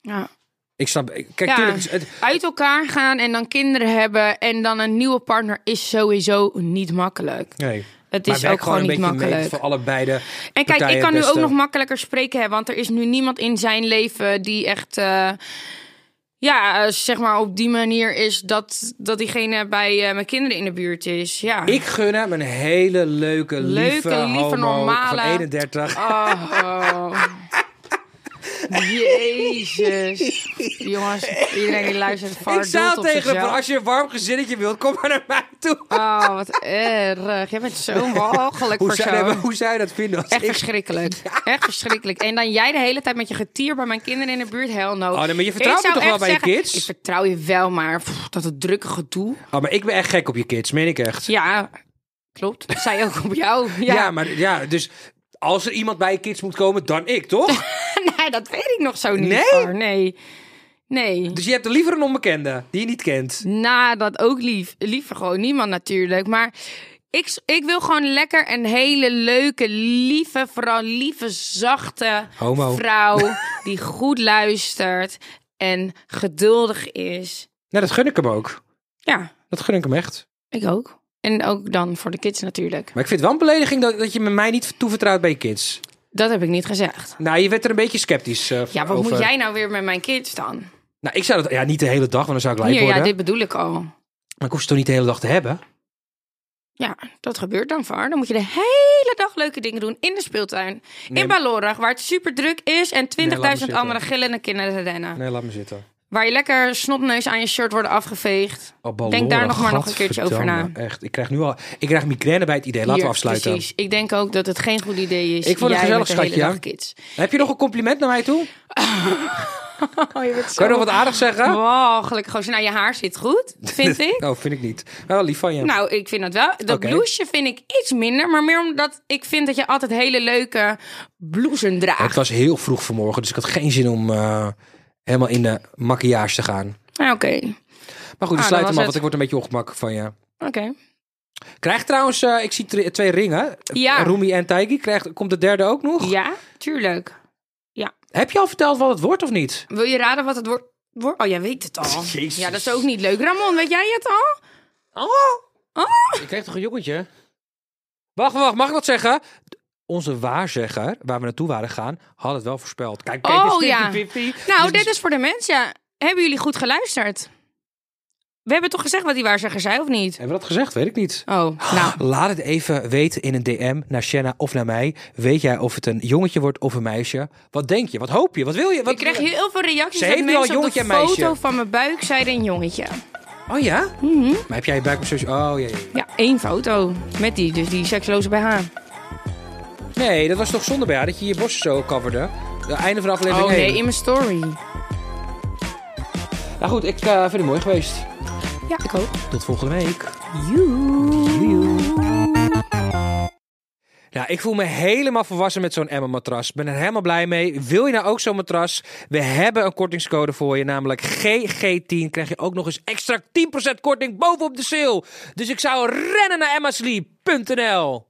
Speaker 3: ja.
Speaker 2: Ik snap. eh, Kijk,
Speaker 3: Ja.
Speaker 2: tuurlijk, is het,
Speaker 3: Uit elkaar gaan en dan kinderen hebben en dan een nieuwe partner is sowieso niet makkelijk.
Speaker 2: nee.
Speaker 3: Het
Speaker 2: Maar
Speaker 3: is
Speaker 2: werk
Speaker 3: ook gewoon niet
Speaker 2: een beetje
Speaker 3: makkelijk.
Speaker 2: mee voor allebei de
Speaker 3: En kijk,
Speaker 2: partijen
Speaker 3: ik kan nu
Speaker 2: het
Speaker 3: ook
Speaker 2: beste.
Speaker 3: nog makkelijker spreken, hè, want er is nu niemand in zijn leven die echt, eh, ja, eh, zeg maar op die manier is dat, dat diegene bij eh, mijn kinderen in de buurt is. Ja.
Speaker 2: Ik gun hem een hele leuke,
Speaker 3: Leuke,
Speaker 2: lieve,
Speaker 3: lieve,
Speaker 2: homo
Speaker 3: normale-
Speaker 2: van 31.
Speaker 3: Oh, oh. Jezus. Jongens, iedereen die luistert,
Speaker 2: ik
Speaker 3: vaart doelt
Speaker 2: zou
Speaker 3: op
Speaker 2: tegen hem,
Speaker 3: zichzelf.
Speaker 2: van, als je een warm gezinnetje wilt, kom maar naar mij toe.
Speaker 3: Oh, wat erg. Jij bent zo'n walgelijk
Speaker 2: Hoe
Speaker 3: persoon.
Speaker 2: zou, nee, maar hoe zou je dat vinden? Als
Speaker 3: Echt
Speaker 2: ik...
Speaker 3: verschrikkelijk. Echt verschrikkelijk. En dan jij de hele tijd met je getier bij mijn kinderen in de buurt. Hell no.
Speaker 2: Oh, nee, maar je vertrouwt
Speaker 3: Ik zou
Speaker 2: me toch wel
Speaker 3: echt
Speaker 2: bij je
Speaker 3: zeggen,
Speaker 2: kids?
Speaker 3: Ik vertrouw je wel, maar pff, dat het drukke gedoe.
Speaker 2: Oh, maar ik ben echt gek op je kids, meen ik echt.
Speaker 3: Ja, klopt. Zij ook op jou. Ja,
Speaker 2: maar ja, dus als er iemand bij je kids moet komen, dan ik, toch?
Speaker 3: nee, dat weet ik nog zo niet.
Speaker 2: Nee?
Speaker 3: Far. Nee. Nee.
Speaker 2: dus je hebt er liever een onbekende die je niet kent.
Speaker 3: Nou, dat ook lief. Liever gewoon niemand natuurlijk. Maar ik, ik wil gewoon lekker een hele leuke, lieve, vooral lieve, zachte
Speaker 2: Homo.
Speaker 3: vrouw. Die goed luistert en geduldig is.
Speaker 2: Nou, dat gun ik hem ook.
Speaker 3: Ja,
Speaker 2: Dat gun ik hem echt.
Speaker 3: ik ook. En ook dan voor de kids natuurlijk.
Speaker 2: Maar ik vind het wel een belediging dat, dat je me mij niet toevertrouwt bij je kids.
Speaker 3: Dat heb ik niet gezegd.
Speaker 2: Nou, je werd er een beetje sceptisch eh,
Speaker 3: Ja, wat
Speaker 2: over.
Speaker 3: moet jij nou weer met mijn kids dan?
Speaker 2: Nou, ik zou dat... Ja, niet de hele dag, want dan zou ik lijp
Speaker 3: Hier, ja,
Speaker 2: worden.
Speaker 3: dit bedoel ik al.
Speaker 2: Maar ik hoef ze toch niet de hele dag te hebben?
Speaker 3: Ja, dat gebeurt dan vaar. Dan moet je de hele dag leuke dingen doen in de speeltuin.
Speaker 2: Nee.
Speaker 3: in Balorag, waar het super druk is en 20.000
Speaker 2: Nee, laat me zitten.
Speaker 3: andere gillende kinderen rennen.
Speaker 2: Nee, laat me zitten.
Speaker 3: Waar je lekker snotneus aan je shirt worden afgeveegd.
Speaker 2: Oh, ballonnen,
Speaker 3: Denk daar nog maar nog een keertje over na.
Speaker 2: gadverdamme, Echt, ik krijg nu al... Ik krijg migraine bij het idee. Laten
Speaker 3: Hier,
Speaker 2: we afsluiten.
Speaker 3: Precies. Ik denk ook dat het geen goed idee is.
Speaker 2: Ik vond het
Speaker 3: Jij
Speaker 2: gezellig,
Speaker 3: met de hele
Speaker 2: schatje,
Speaker 3: dag kids.
Speaker 2: Heb je nog een compliment naar mij toe?
Speaker 3: Oh, je bent zo...
Speaker 2: Kan je nog wat aardig zeggen?
Speaker 3: Wow, gelukkig gozer. Nou, je haar zit goed, vind ik.
Speaker 2: Oh, vind ik niet. Maar wel lief van je.
Speaker 3: Nou, ik vind dat wel. Dat
Speaker 2: Oké.
Speaker 3: blouseje vind ik iets minder. Maar meer omdat ik vind dat je altijd hele leuke blouses
Speaker 2: het
Speaker 3: draagt.
Speaker 2: was heel vroeg vanmorgen, dus ik had geen zin om eh, helemaal in de maquillage te gaan.
Speaker 3: Ah, Oké,
Speaker 2: Maar goed, we
Speaker 3: Ah,
Speaker 2: sluiten
Speaker 3: dan was
Speaker 2: hem af,
Speaker 3: het.
Speaker 2: want ik word een beetje ongemakkelijk van je.
Speaker 3: oké.
Speaker 2: Krijg trouwens, eh, ik zie tre- twee ringen.
Speaker 3: Ja.
Speaker 2: Rumi en Taiki. Krijgt, komt de derde ook nog?
Speaker 3: Ja, tuurlijk.
Speaker 2: Heb je al verteld wat het wordt of niet?
Speaker 3: Wil je raden wat het wordt? Wor- oh, jij weet het al.
Speaker 2: Jezus.
Speaker 3: Ja, dat is ook niet leuk. Ramon, weet jij het al? Oh.
Speaker 2: Ik kreeg toch een jongetje? Wacht, wacht, mag ik wat zeggen? Onze waarzegger, waar we naartoe waren gaan, had het wel voorspeld. Kijk, kijk,
Speaker 3: Oh,
Speaker 2: het is
Speaker 3: ja.
Speaker 2: 50-50.
Speaker 3: Nou,
Speaker 2: Dus-
Speaker 3: dit is voor de mensen. Hebben jullie goed geluisterd? We hebben toch gezegd wat die waarzegger zei, of niet?
Speaker 2: Hebben we dat gezegd? Weet ik niet.
Speaker 3: Oh, nou.
Speaker 2: Laat het even weten in een DM naar Shanna of naar mij. Weet jij of het een jongetje wordt of een meisje? Wat denk je? Wat hoop je? Wat wil je? Wat...
Speaker 3: Ik kreeg heel veel reacties
Speaker 2: Ze
Speaker 3: dat
Speaker 2: heeft nu al
Speaker 3: mensen op de
Speaker 2: jongetje en meisje.
Speaker 3: foto van mijn buik zeiden een jongetje.
Speaker 2: Oh ja?
Speaker 3: Mhm.
Speaker 2: Maar heb jij je buik op social? Oh ja, ja, ja.
Speaker 3: Ja, één foto. Met die, dus die seksloze bij haar.
Speaker 2: Nee, dat was toch zonde bij haar dat je je borsten zo coverde? De einde van de aflevering
Speaker 3: Oh nee,
Speaker 2: één.
Speaker 3: in mijn story.
Speaker 2: Nou goed, ik eh, vind het mooi geweest.
Speaker 3: Ja, ik ook.
Speaker 2: Tot volgende week. Nou, ik voel me helemaal volwassen met zo'n Emma-matras. Ik ben er helemaal blij mee. Wil je nou ook zo'n matras? We hebben een kortingscode voor je, namelijk GG10. Krijg je ook nog eens extra 10% korting bovenop de sale. Dus ik zou rennen naar emmasleep.nl.